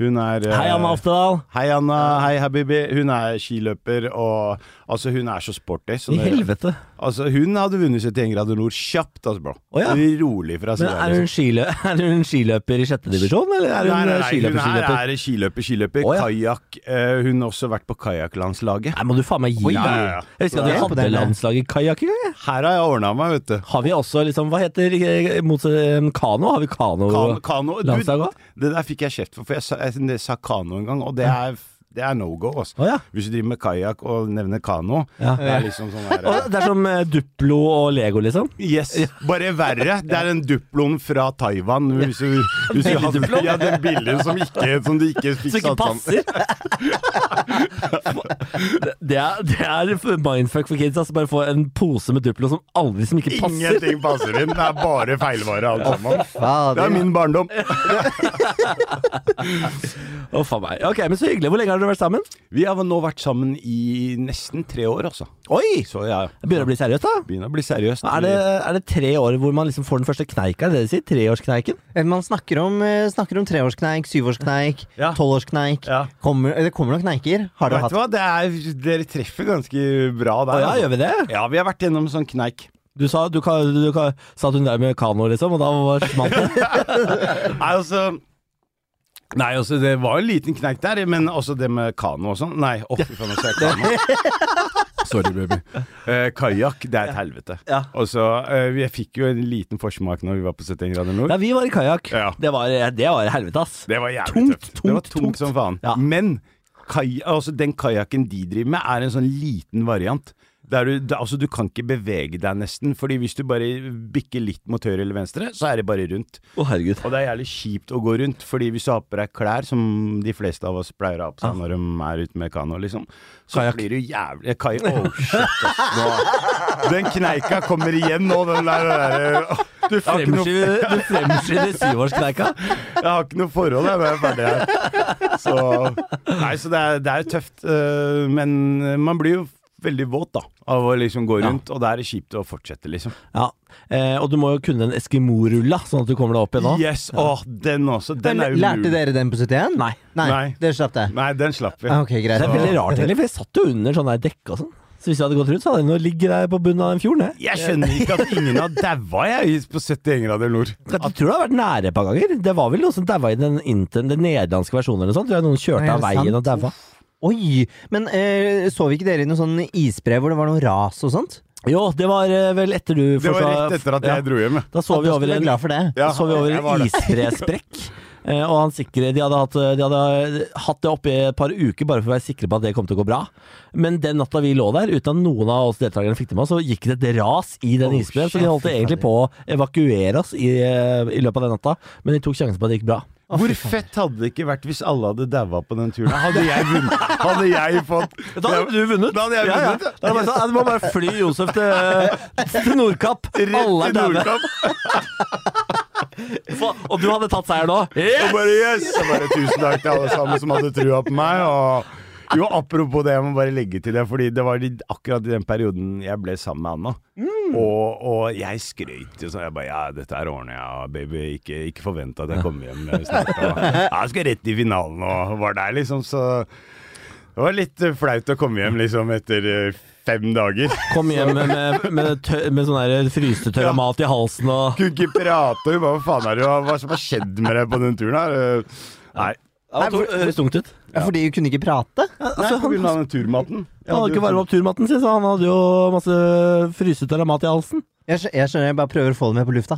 [SPEAKER 3] Hun er eh,
[SPEAKER 1] Hei, Anna Oftedal.
[SPEAKER 3] Hei, Anna. Hei, Habibi. Hun er skiløper, og altså, hun er så sporty. Så
[SPEAKER 1] I
[SPEAKER 3] det-
[SPEAKER 1] helvete.
[SPEAKER 3] altså, hun hadde vunnet 71 grader nord kjapt, altså, bro.
[SPEAKER 1] Å, ja.
[SPEAKER 3] Rolig fra
[SPEAKER 1] Men
[SPEAKER 3] siden.
[SPEAKER 1] er hun, skilø er hun skiløper i sjette divisjon, eller er hun
[SPEAKER 3] Nei, nei, nei, hun
[SPEAKER 1] skiløper?
[SPEAKER 3] her
[SPEAKER 1] skiløper?
[SPEAKER 3] er skiløper, skiløper,
[SPEAKER 1] Å, ja.
[SPEAKER 3] kajakk. eh, hun har også vært på kajakklandslaget.
[SPEAKER 1] Nei, må du faen meg gi
[SPEAKER 3] Oi, ja, ja, ja.
[SPEAKER 1] Jeg husker at
[SPEAKER 2] Det
[SPEAKER 1] vi
[SPEAKER 2] er
[SPEAKER 1] hadde
[SPEAKER 2] imponerende.
[SPEAKER 1] landslag i kajakk en gang. jeg.
[SPEAKER 3] Her har jeg ordna meg, vet du.
[SPEAKER 1] Har vi også liksom, hva heter eh, mot eh, kano? Har vi kano?
[SPEAKER 3] Kan, kano. Du,
[SPEAKER 1] Landslag også?
[SPEAKER 3] det der fikk jeg kjeft for, for jeg sa, jeg sa kano en gang, og det er det er no go. Altså.
[SPEAKER 1] Å ja.
[SPEAKER 3] Hvis du driver med kajakk og nevner kano,
[SPEAKER 1] Ja.
[SPEAKER 3] det er liksom sånn her
[SPEAKER 1] Og det er som eh, Duplo og Lego, liksom?
[SPEAKER 3] Yes, bare verre. Det er den duploen fra Taiwan. Hvis du, hvis du har,
[SPEAKER 1] Billigduploen?
[SPEAKER 3] ja, den billige som, ikke, som du ikke sånn. fikk
[SPEAKER 1] Som ikke
[SPEAKER 3] satt sammen.
[SPEAKER 1] passer! det, er, det er mindfuck for kids. Altså bare få en pose med Duplo som aldri som ikke passer.
[SPEAKER 3] Ingenting passer inn. Det er bare feilvare alt sammen. Det er
[SPEAKER 2] Fader.
[SPEAKER 3] min barndom.
[SPEAKER 1] Å, faen meg. Ok, men Så hyggelig. Hvor lenge har dere vært sammen?
[SPEAKER 3] Vi har nå vært sammen i nesten tre år, altså.
[SPEAKER 1] Oi!
[SPEAKER 3] Så ja,
[SPEAKER 1] Det begynner å bli seriøst, da.
[SPEAKER 3] begynner å bli seriøst.
[SPEAKER 1] Er det, er det tre år hvor man liksom får den første kneika? Er det det de sier? Treårskneiken?
[SPEAKER 2] Man snakker om, eh, snakker om treårskneik, syvårskneik,
[SPEAKER 3] Ja.
[SPEAKER 2] tolvårskneik.
[SPEAKER 3] Ja.
[SPEAKER 2] Kommer, eh, det kommer nok kneiker. Har dere
[SPEAKER 3] Vet du
[SPEAKER 2] hatt
[SPEAKER 3] hva, det er, dere treffer ganske bra
[SPEAKER 1] Å
[SPEAKER 3] der.
[SPEAKER 1] ja,
[SPEAKER 3] altså.
[SPEAKER 1] gjør vi det?
[SPEAKER 3] ja, vi har vært gjennom sånn kneik.
[SPEAKER 1] Du sa, du, ka- du, ka- sa at hun drev med kano, liksom, og da var smalt det.
[SPEAKER 3] Nei, altså Nei, altså, det var en liten kneik der, men også det med kano og sånn. Nei, å, fy faen, nå sa jeg kano. Sorry, baby. Eh, Kajakk, det er et helvete.
[SPEAKER 1] Ja.
[SPEAKER 3] Og så, eh, Jeg fikk jo en liten forsmak når vi var på 71 grader nord.
[SPEAKER 1] Ja, vi var i kajakk.
[SPEAKER 3] Ja.
[SPEAKER 1] Det, var- det var helvete, ass.
[SPEAKER 3] Det var jævlig
[SPEAKER 1] Tungt,
[SPEAKER 3] tøft.
[SPEAKER 1] tungt,
[SPEAKER 3] det var tungt,
[SPEAKER 1] tungt.
[SPEAKER 3] som faen.
[SPEAKER 1] Ja.
[SPEAKER 3] Men kaj, altså, den kajakken de driver med, er en sånn liten variant. Der du, da- altså, du kan ikke bevege deg nesten, Fordi hvis du bare bikker litt mot høyre eller venstre, så er det bare rundt.
[SPEAKER 1] Å, herregud.
[SPEAKER 3] Og det er jævlig kjipt å gå rundt, fordi hvis du har på deg klær, som de fleste av oss pleier å ha på seg når de er ute med kano, liksom, så
[SPEAKER 1] Kajak.
[SPEAKER 3] blir du jævlig kaj, oh, shit, ass. Nå, Den kneika kommer igjen nå, den der, den der eh, Du får ikke noe
[SPEAKER 1] Fremskyver- Du fremskyver syvårskneika.
[SPEAKER 3] jeg har ikke noe forhold, jeg. Jeg er ferdig her. Så, nei, så det er, det er jo tøft. øh, Men man blir jo veldig våt da av å liksom gå rundt, og da er det kjipt å fortsette, liksom.
[SPEAKER 1] Ja, eh, og du må jo kunne en Eskimo-rulla, sånn at du kommer deg opp igjen nå.
[SPEAKER 3] Yes! Åh, den også. Den er
[SPEAKER 2] Lærte
[SPEAKER 3] umulig.
[SPEAKER 2] dere den på 71?
[SPEAKER 1] Nei.
[SPEAKER 2] Nei,
[SPEAKER 3] Nei.
[SPEAKER 2] Dere slapp det?
[SPEAKER 3] Nei, den slapp vi.
[SPEAKER 2] Ah, Ok, greit.
[SPEAKER 1] Det er veldig rart, egentlig, for jeg satt jo under sånn der dekke og sånn. Så hvis jeg hadde gått rundt, så hadde jeg nå ligget der på bunnen av den fjorden. Jeg.
[SPEAKER 3] Jeg skjønner ikke at ingen har daua, jeg, på 71 grader nord.
[SPEAKER 1] jeg tror det har vært nære et par ganger. Det var vel noe som daua i den, intern, den nederlandske versjonen eller noe sånt. Tror jeg noen
[SPEAKER 2] Nei,
[SPEAKER 1] kjørte
[SPEAKER 2] er
[SPEAKER 1] av
[SPEAKER 2] det
[SPEAKER 1] veien
[SPEAKER 2] sant?
[SPEAKER 1] og daua.
[SPEAKER 2] Oi! Men eh, så vi ikke dere i noe sånn isbre hvor det var noe ras og sånt?
[SPEAKER 1] Jo, det var eh, vel etter du
[SPEAKER 3] Det var rett etter at jeg
[SPEAKER 1] ja.
[SPEAKER 3] dro hjem. jeg.
[SPEAKER 1] Da så
[SPEAKER 2] Ja,
[SPEAKER 1] vi
[SPEAKER 2] da
[SPEAKER 1] over
[SPEAKER 2] skulle jeg være
[SPEAKER 1] en
[SPEAKER 2] glad for det.
[SPEAKER 3] Ja,
[SPEAKER 1] så vi over
[SPEAKER 3] jeg var
[SPEAKER 1] en
[SPEAKER 3] det.
[SPEAKER 1] isbresprekk. eh, Og han sikre, de, hadde hatt, de hadde hatt det oppe i et par uker bare for å være sikre på at det kom til å gå bra. Men den natta vi lå der, uten at noen av oss deltakerne fikk det med oss, så gikk det et ras i den
[SPEAKER 2] Oh,
[SPEAKER 1] isbreen. Så de
[SPEAKER 2] shit,
[SPEAKER 3] altså.
[SPEAKER 1] holdt
[SPEAKER 2] fy faen.
[SPEAKER 1] egentlig på å evakuere oss i, eh, i løpet av den natta, men de tok sjansen på at det gikk bra.
[SPEAKER 3] Hvor fett hadde det ikke vært hvis alle hadde daua på den turen? Hadde jeg vunnet? Hadde jeg fått
[SPEAKER 1] du vunnet.
[SPEAKER 3] Da hadde jeg vunnet,
[SPEAKER 1] Da
[SPEAKER 3] ja.
[SPEAKER 1] er det bare sånn, "Nei, du må bare fly Josef eh, til, til Nordkapp. Alle er
[SPEAKER 3] Rett i
[SPEAKER 1] daue.
[SPEAKER 3] Nordkapp!
[SPEAKER 1] Og du hadde tatt seier nå.
[SPEAKER 3] Og bare yes! Og bare tusen takk til alle sammen som hadde trua på meg. Og jo, apropos det, jeg må bare legge til det, fordi det var i- akkurat i den perioden jeg ble sammen med Anna. Og, og jeg skrøt jo sånn. Jeg bare ja, dette her ordner jeg, og baby. Ikke, ikke forvent at jeg kommer hjem eh, snart. Og, ja, jeg skal rett i finalen og var der, liksom. Så det var litt eh, flaut å komme hjem liksom etter eh, fem dager.
[SPEAKER 1] Kom hjem med, med, med, tø- med sånn der frysetørra
[SPEAKER 3] Ja.
[SPEAKER 1] mat i halsen og
[SPEAKER 3] Kunne ikke prate. og hun bare, Hva faen er det hva hva som har skjedd med deg på den turen her? Eh, Nei.
[SPEAKER 1] Ja, eh,
[SPEAKER 2] Nei,
[SPEAKER 1] det
[SPEAKER 2] hvor-
[SPEAKER 1] høres tungt ut.
[SPEAKER 2] Ja, Fordi hun kunne ikke prate?
[SPEAKER 3] Nei, på grunn av den turmaten. Jeg
[SPEAKER 1] Han hadde
[SPEAKER 3] hadde jo
[SPEAKER 1] ikke varma opp turmatten sin, så han hadde jo masse frysetørra mat i halsen.
[SPEAKER 2] Jeg, skj- jeg skjønner, jeg bare prøver å få det med på lufta.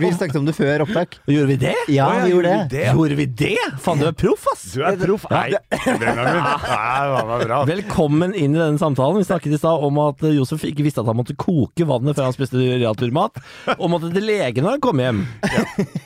[SPEAKER 2] Vi snakket om det før opptak.
[SPEAKER 1] Og gjorde vi det?
[SPEAKER 2] Ja,
[SPEAKER 3] Å, ja,
[SPEAKER 2] vi gjorde
[SPEAKER 3] gjorde
[SPEAKER 2] det.
[SPEAKER 3] vi det?
[SPEAKER 1] Gjorde vi det? Faen, du er proff, ass!
[SPEAKER 3] Du er proff. Nei, Benjamin. Nei, det var bra.
[SPEAKER 1] Velkommen inn i denne samtalen. Vi snakket i stad om at eh, Josef ikke visste at han måtte koke vannet før han spiste realturmat, og måtte til legen når han kom hjem.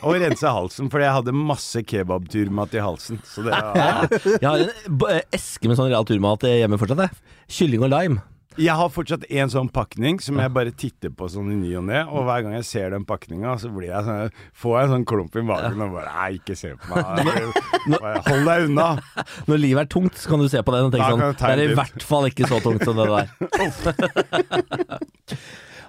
[SPEAKER 3] Og rense halsen, for jeg hadde masse kebabturmat i halsen. Så det var...
[SPEAKER 1] Jeg har en b- eh, eske med sånn realturmat hjemme fortsatt. jeg. Kylling og lime.
[SPEAKER 3] Jeg har fortsatt en sånn pakning som jeg bare titter på sånn i ny og ne, og hver gang jeg ser den pakninga, så blir jeg sånn, får jeg en sånn klump i magen og bare Nei, ikke se på meg. Bare, Hold deg unna.
[SPEAKER 1] Når livet er tungt, så kan du se på den og tenke
[SPEAKER 3] Da
[SPEAKER 1] sånn
[SPEAKER 3] kan jeg
[SPEAKER 1] Det
[SPEAKER 3] ta
[SPEAKER 1] er i
[SPEAKER 3] en bit."
[SPEAKER 1] hvert fall ikke så tungt som det der.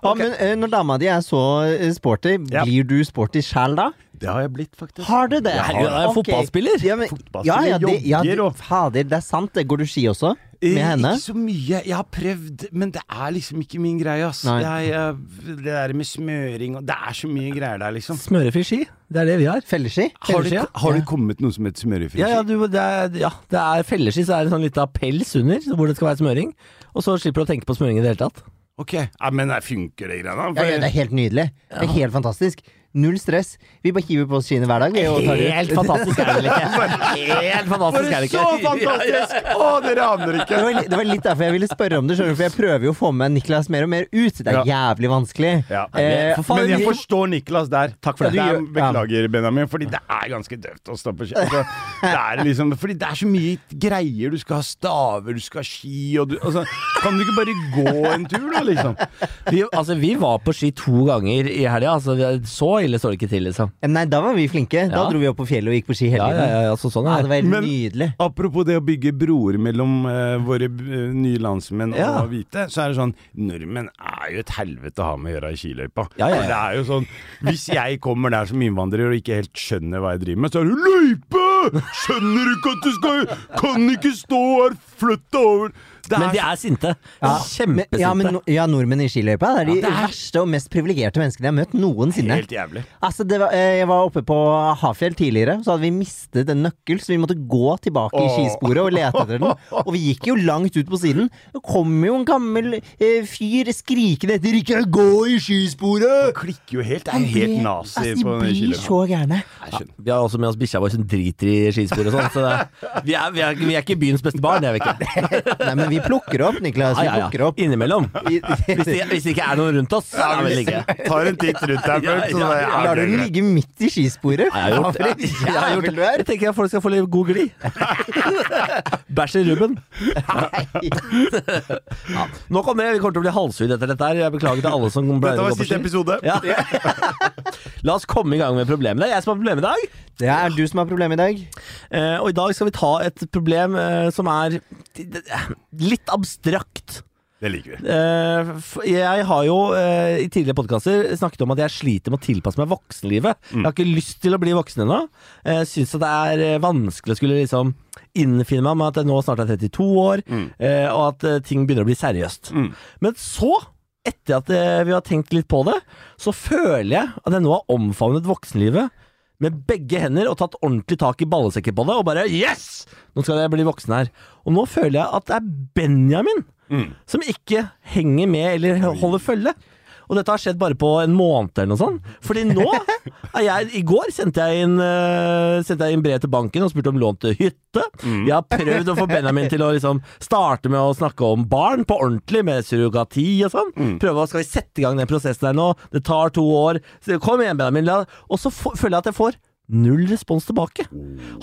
[SPEAKER 2] Ja, men eh, Når dama di er så eh, sporty,
[SPEAKER 3] Ja.
[SPEAKER 2] blir du sporty sjæl da?
[SPEAKER 3] Det har jeg blitt, faktisk.
[SPEAKER 2] Har du det?
[SPEAKER 1] Herregud, han er
[SPEAKER 2] Ok.
[SPEAKER 1] fotballspiller.
[SPEAKER 2] Ja, men, ja,
[SPEAKER 3] Fotballspiller,
[SPEAKER 2] ja, det, ja,
[SPEAKER 3] jogger og-
[SPEAKER 2] det, fader, det er sant. det. Går du ski også? Med
[SPEAKER 3] Eh,
[SPEAKER 2] henne?
[SPEAKER 3] Ikke så mye. Jeg har prøvd, men det er liksom ikke min greie, ass.
[SPEAKER 2] Nei.
[SPEAKER 3] Jeg, eh, det der med smøring og Det er så mye greier der, liksom.
[SPEAKER 1] Smørefri ski, det er det vi har.
[SPEAKER 2] Felleski?
[SPEAKER 3] Har det,
[SPEAKER 1] Felleski, ja.
[SPEAKER 3] har det kommet noe som heter smørefri?
[SPEAKER 1] Ja, ja, du, det er, ja, det er felleski, så er det sånn liten pels under så hvor det skal være smøring. Og så slipper du å tenke på smøring i det hele tatt.
[SPEAKER 3] Ok, ja, men det funker det greiene?
[SPEAKER 2] Ja, ja, det er helt nydelig. Det er helt fantastisk. Null stress. Vi bare hiver på oss skiene hver dag. Vi, og tar det ut.
[SPEAKER 1] Helt fantastisk er det vel ikke? Helt fantastisk er det
[SPEAKER 3] Så
[SPEAKER 1] ikke?
[SPEAKER 3] fantastisk! Å, dere aner ikke!
[SPEAKER 2] Det var, li- det var litt derfor jeg ville spørre om det, skjønner du, for jeg prøver jo å få med Niklas mer og mer ut. Det er jævlig vanskelig.
[SPEAKER 3] Ja.
[SPEAKER 2] Eh,
[SPEAKER 1] For faen,
[SPEAKER 3] Men jeg
[SPEAKER 1] vi-
[SPEAKER 3] forstår Niklas der. Takk
[SPEAKER 2] for det.
[SPEAKER 3] er,
[SPEAKER 2] Du gjør- ja.
[SPEAKER 3] beklager, Benjamin, fordi det er ganske døvt å stå på ski. Altså, det er liksom, fordi det er så mye greier. Du skal ha staver, du skal ha ski og du, altså, Kan du ikke bare gå en tur, da, liksom?
[SPEAKER 1] Vi, altså, vi var på ski to ganger i helga, altså, vi- så ille står det ikke til, liksom.
[SPEAKER 2] Nei, da var vi flinke. Da
[SPEAKER 1] Ja.
[SPEAKER 2] dro vi opp på fjellet og gikk på ski hele
[SPEAKER 1] Ja, ja,
[SPEAKER 2] tiden.
[SPEAKER 1] ja, altså, sånn
[SPEAKER 2] Ja,
[SPEAKER 1] er
[SPEAKER 2] det
[SPEAKER 1] det.
[SPEAKER 2] var helt
[SPEAKER 3] Men-
[SPEAKER 2] nydelig.
[SPEAKER 3] Apropos det å bygge broer mellom eh, våre eh, nye landsmenn
[SPEAKER 1] Ja.
[SPEAKER 3] og hvite, så er det sånn Nordmenn er jo et helvete å ha med å gjøre i skiløypa.
[SPEAKER 1] Ja, ja, ja.
[SPEAKER 3] Det er jo sånn Hvis jeg kommer der som innvandrer og ikke helt skjønner hva jeg driver med, så er det 'løype'! Skjønner du ikke at du skal Kan ikke stå her, flytt deg over! Det
[SPEAKER 1] Men de
[SPEAKER 3] er,
[SPEAKER 1] er sinte.
[SPEAKER 2] Men,
[SPEAKER 1] Kjempesinte.
[SPEAKER 2] ja, men, no- ja, nordmenn i skiløypa er de verste og mest privilegerte menneskene jeg har møtt noensinne.
[SPEAKER 3] helt jævlig.
[SPEAKER 2] Altså, det var, eh, jeg var oppe på Hafjell tidligere, så hadde vi mistet en nøkkel, så vi måtte gå tilbake i
[SPEAKER 3] Åh.
[SPEAKER 2] skisporet og lete etter den. Og vi gikk jo langt ut på siden. Det kom jo en gammel eh, fyr skrikende etter 'ikke gå i skisporet'!
[SPEAKER 3] Klikker jo helt. Det er jo helt
[SPEAKER 2] Det-
[SPEAKER 3] nazi
[SPEAKER 2] altså, de
[SPEAKER 3] på den
[SPEAKER 2] blir
[SPEAKER 3] skiløypa.
[SPEAKER 2] så gærne.
[SPEAKER 3] Jeg skjønner.
[SPEAKER 1] Vi har også med oss bikkja vår som driter i skispor og sånn. Så det, vi, er, vi, er, vi er ikke byens beste barn, det er vi ikke.
[SPEAKER 2] Nei, men vi plukker opp, Niklas.
[SPEAKER 1] Ja,
[SPEAKER 2] Vi
[SPEAKER 1] ja, ja.
[SPEAKER 2] plukker opp.
[SPEAKER 1] Innimellom. Hvis det,
[SPEAKER 2] Vi-
[SPEAKER 1] hvis det ikke er noen rundt oss, så er det vel ikke.
[SPEAKER 3] Tar en titt rundt deg
[SPEAKER 1] Ja,
[SPEAKER 3] først, så
[SPEAKER 1] ja,
[SPEAKER 3] bare, ja,
[SPEAKER 2] Lar du
[SPEAKER 3] det er
[SPEAKER 2] den
[SPEAKER 3] greit.
[SPEAKER 2] ligge midt i skisporet?
[SPEAKER 1] Jeg har gjort det. Jeg, har gjort det. jeg tenker at folk skal få litt god glid. Bæsj i rubben. Ja. Nok om det. Vi kommer til å bli halshugd etter dette. her Jeg Beklager til alle som ble
[SPEAKER 3] Dette
[SPEAKER 1] å
[SPEAKER 3] var
[SPEAKER 1] gå på
[SPEAKER 3] siste
[SPEAKER 1] ski.
[SPEAKER 3] episode.
[SPEAKER 1] Ja. La oss komme i gang med problemet. Det er jeg som har problemet i dag.
[SPEAKER 2] Det er du som har problemet i dag.
[SPEAKER 1] Eh, og i dag skal vi ta et problem eh, som er eh, litt abstrakt.
[SPEAKER 3] Det liker vi.
[SPEAKER 1] Eh, f- jeg har jo eh, i tidligere podkaster snakket om at jeg sliter med å tilpasse meg voksenlivet. Jeg har ikke lyst til å bli voksen ennå. Uh, Syns at det er eh, vanskelig å skulle liksom innfinne meg med at jeg nå snart er 32 år, eh, og at eh, ting begynner å bli seriøst. Men så, etter at eh, vi har tenkt litt på det, så føler jeg at jeg nå har omfavnet voksenlivet med begge hender og tatt ordentlig tak i ballesekken på det, og bare yes! Nå skal jeg bli voksen her. Og nå føler jeg at det er Benjamin som ikke henger med eller holder følge. Og dette har skjedd bare på en måned eller noe sånt. Fordi nå er jeg I går sendte jeg inn, eh, sendte jeg inn brev til banken og spurte om lån til hytte. Jeg har prøvd å få Benjamin til å liksom starte med å snakke om barn på ordentlig, med surrogati og sånn. Prøve å Skal vi sette i gang den prosessen her nå? Det tar to år. Så Kom igjen, Benjamin. La. Og så få- føler jeg at jeg får null respons tilbake.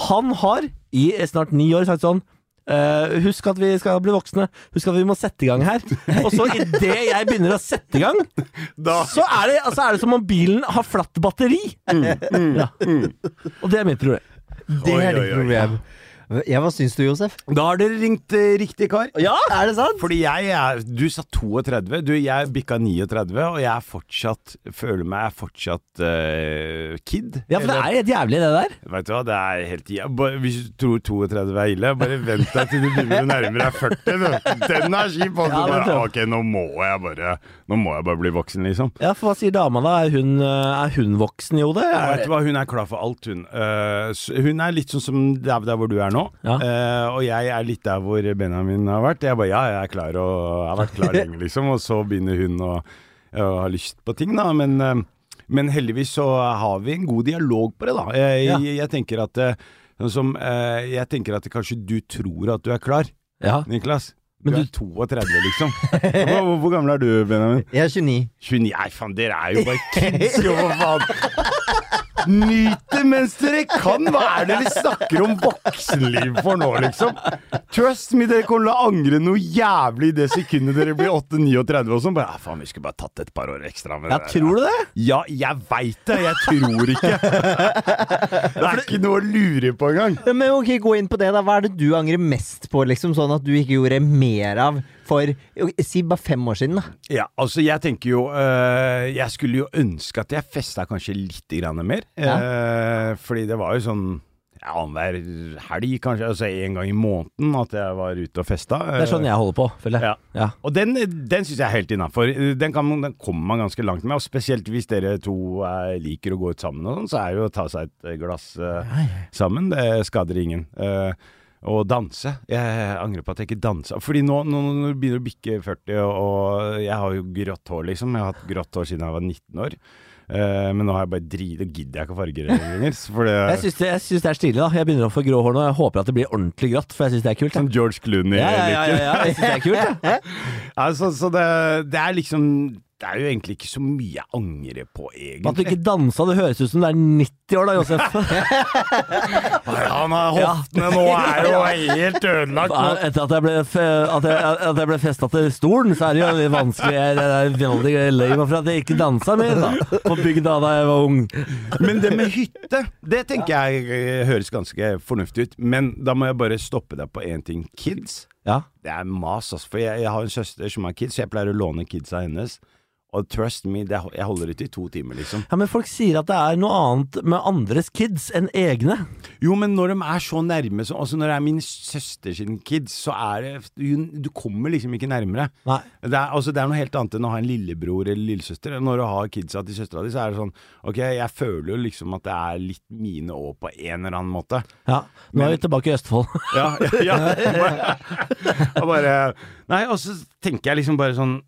[SPEAKER 1] Han har i snart ni år sagt sånn Eh, husk at vi skal bli voksne. Husk at vi må sette i gang her. Og så idet jeg begynner å sette i gang,
[SPEAKER 3] Da
[SPEAKER 1] så er det, altså er det som om bilen har flatt batteri.
[SPEAKER 2] Mm,
[SPEAKER 1] Ja. Og det er mitt problem.
[SPEAKER 2] Det
[SPEAKER 3] Oi,
[SPEAKER 2] er
[SPEAKER 3] oi,
[SPEAKER 2] ditt
[SPEAKER 3] oi.
[SPEAKER 2] problem. Ja, hva syns du, Josef?
[SPEAKER 3] Da har dere ringt eh, riktig kar.
[SPEAKER 1] Ja!
[SPEAKER 2] Er det sant?
[SPEAKER 3] Fordi jeg er Du sa 32. Du, jeg bikka 39, og jeg er fortsatt Føler meg fortsatt eh, kid.
[SPEAKER 1] Ja, for det er helt jævlig, det der.
[SPEAKER 3] Vet du hva, det er helt ja, bare, Hvis du tror 32 er ille, bare vent deg til du begynner å nærme deg 40. du. Den er kjip.
[SPEAKER 1] Ja,
[SPEAKER 3] Altså,
[SPEAKER 1] det
[SPEAKER 3] bare,
[SPEAKER 1] tror
[SPEAKER 3] ok, nå må jeg bare Nå må jeg bare bli voksen, liksom.
[SPEAKER 1] Ja, for hva sier dama da? Er hun, eh, er hun voksen i hodet?
[SPEAKER 3] Og
[SPEAKER 1] Er
[SPEAKER 3] Vet du hva, hun er klar for alt, hun. Eh, s- hun er litt sånn som der, der hvor du er nå.
[SPEAKER 1] Ja.
[SPEAKER 3] Eh, og jeg er litt der hvor Benjamin har vært. Jeg bare ja, jeg er klar og jeg har vært klar lenge, liksom. Og så begynner hun å, å ha lyst på ting, da. Men, eh, men heldigvis så har vi en god dialog på det, da. Jeg,
[SPEAKER 1] Ja.
[SPEAKER 3] jeg, jeg tenker at eh, Sånn som, eh, jeg tenker at kanskje du tror at du er klar,
[SPEAKER 1] Ja.
[SPEAKER 3] Niklas. Du,
[SPEAKER 1] Men
[SPEAKER 3] er 32, liksom. Hvor, hvor- hvor gammel er du, Benjamin?
[SPEAKER 2] Jeg er 29.
[SPEAKER 3] 29 Nei, faen, dere er jo bare kids, jo, for faen. Nyt det mens dere kan! Hva er det dere snakker om voksenliv for nå, liksom? Trust me, dere kommer til å angre noe jævlig i det sekundet dere blir 8-39 og sånn. Bare, ja, faen, vi skulle bare tatt et par år ekstra med
[SPEAKER 1] Ja,
[SPEAKER 3] det der,
[SPEAKER 1] tror du det?
[SPEAKER 3] Ja, jeg veit det. Jeg tror ikke. Det er ikke noe å lure på engang.
[SPEAKER 2] Ja, men ok, Gå inn på det, da. Hva er det du angrer mest på, liksom, sånn at du ikke gjorde mer av for ok, si bare fem år siden? da
[SPEAKER 3] Ja, altså jeg tenker jo øh, Jeg skulle jo ønske at jeg festa kanskje litt grann mer. Eh, fordi det var jo sånn ja, annenhver helg, kanskje. Altså en gang i måneden at jeg var ute og festa.
[SPEAKER 1] Det er sånn jeg holder på, føler jeg. Ja.
[SPEAKER 3] Og den, den syns jeg er helt innafor. Den, kan man- den kommer man ganske langt med. Og spesielt hvis dere to eh, liker å gå ut sammen og sånn, så er det jo å ta seg et glass eh, sammen. Det skader ingen. Eh, og danse. Jeg angrer på at jeg ikke dansa. Fordi nå, nå, nå begynner det å bikke 40, og, og jeg har jo grått hår, liksom. Jeg har hatt grått hår siden jeg var 19 år. Eh, men nå har jeg bare drit, det gidder jeg ikke å farge det lenger. så For det
[SPEAKER 1] Jeg syns det, jeg syns det er stilig, da. Jeg begynner å få grå hår nå. Jeg håper at det blir ordentlig grått, for jeg syns det er kult. jeg.
[SPEAKER 3] Sånn George Clooney.
[SPEAKER 1] Ja, ja, ja, ja, ja. Jeg syns det er kult, jeg.
[SPEAKER 3] Altså, så det, det er liksom Det er jo egentlig ikke så mye jeg angrer på,
[SPEAKER 1] At du
[SPEAKER 3] egentlig.
[SPEAKER 1] ikke dansa, det høres ut som du er 90 år da, Josef.
[SPEAKER 3] Ja, nå er hoftene nå er jo helt ødelagt.
[SPEAKER 1] Ja,
[SPEAKER 3] nå.
[SPEAKER 1] Etter at jeg ble, fe- at jeg, at jeg ble festa til stolen, så er det jo litt vanskelig. Jeg, jeg, jeg er veldig lei meg for at jeg ikke dansa mer da, på bygda da jeg var ung.
[SPEAKER 3] Men det med hytte, det tenker jeg eh, høres ganske fornuftig ut. Men da må jeg bare stoppe deg på én ting. Kids,
[SPEAKER 1] Ja,
[SPEAKER 3] det er mas, altså. For jeg, jeg har en søster som har kids, så jeg pleier å låne kidsa hennes. Og trust me, det, jeg holder ut i to timer, liksom.
[SPEAKER 1] ja Men folk sier at det er noe annet med andres kids enn egne.
[SPEAKER 3] Jo, men når de er så nærme så, Altså, når det er min søster sin kids, så er det Du, du kommer liksom ikke nærmere.
[SPEAKER 1] Nei.
[SPEAKER 3] Det er, altså, det er noe helt annet enn å ha en lillebror eller lillesøster. Når du har kidsa til søstera di, så er det sånn Ok, jeg føler jo liksom at det er litt mine òg, på en eller annen måte.
[SPEAKER 1] Ja, Nå er vi tilbake i Østfold.
[SPEAKER 3] Ja, ja, ja. Og bare Nei, og så tenker jeg liksom bare sånn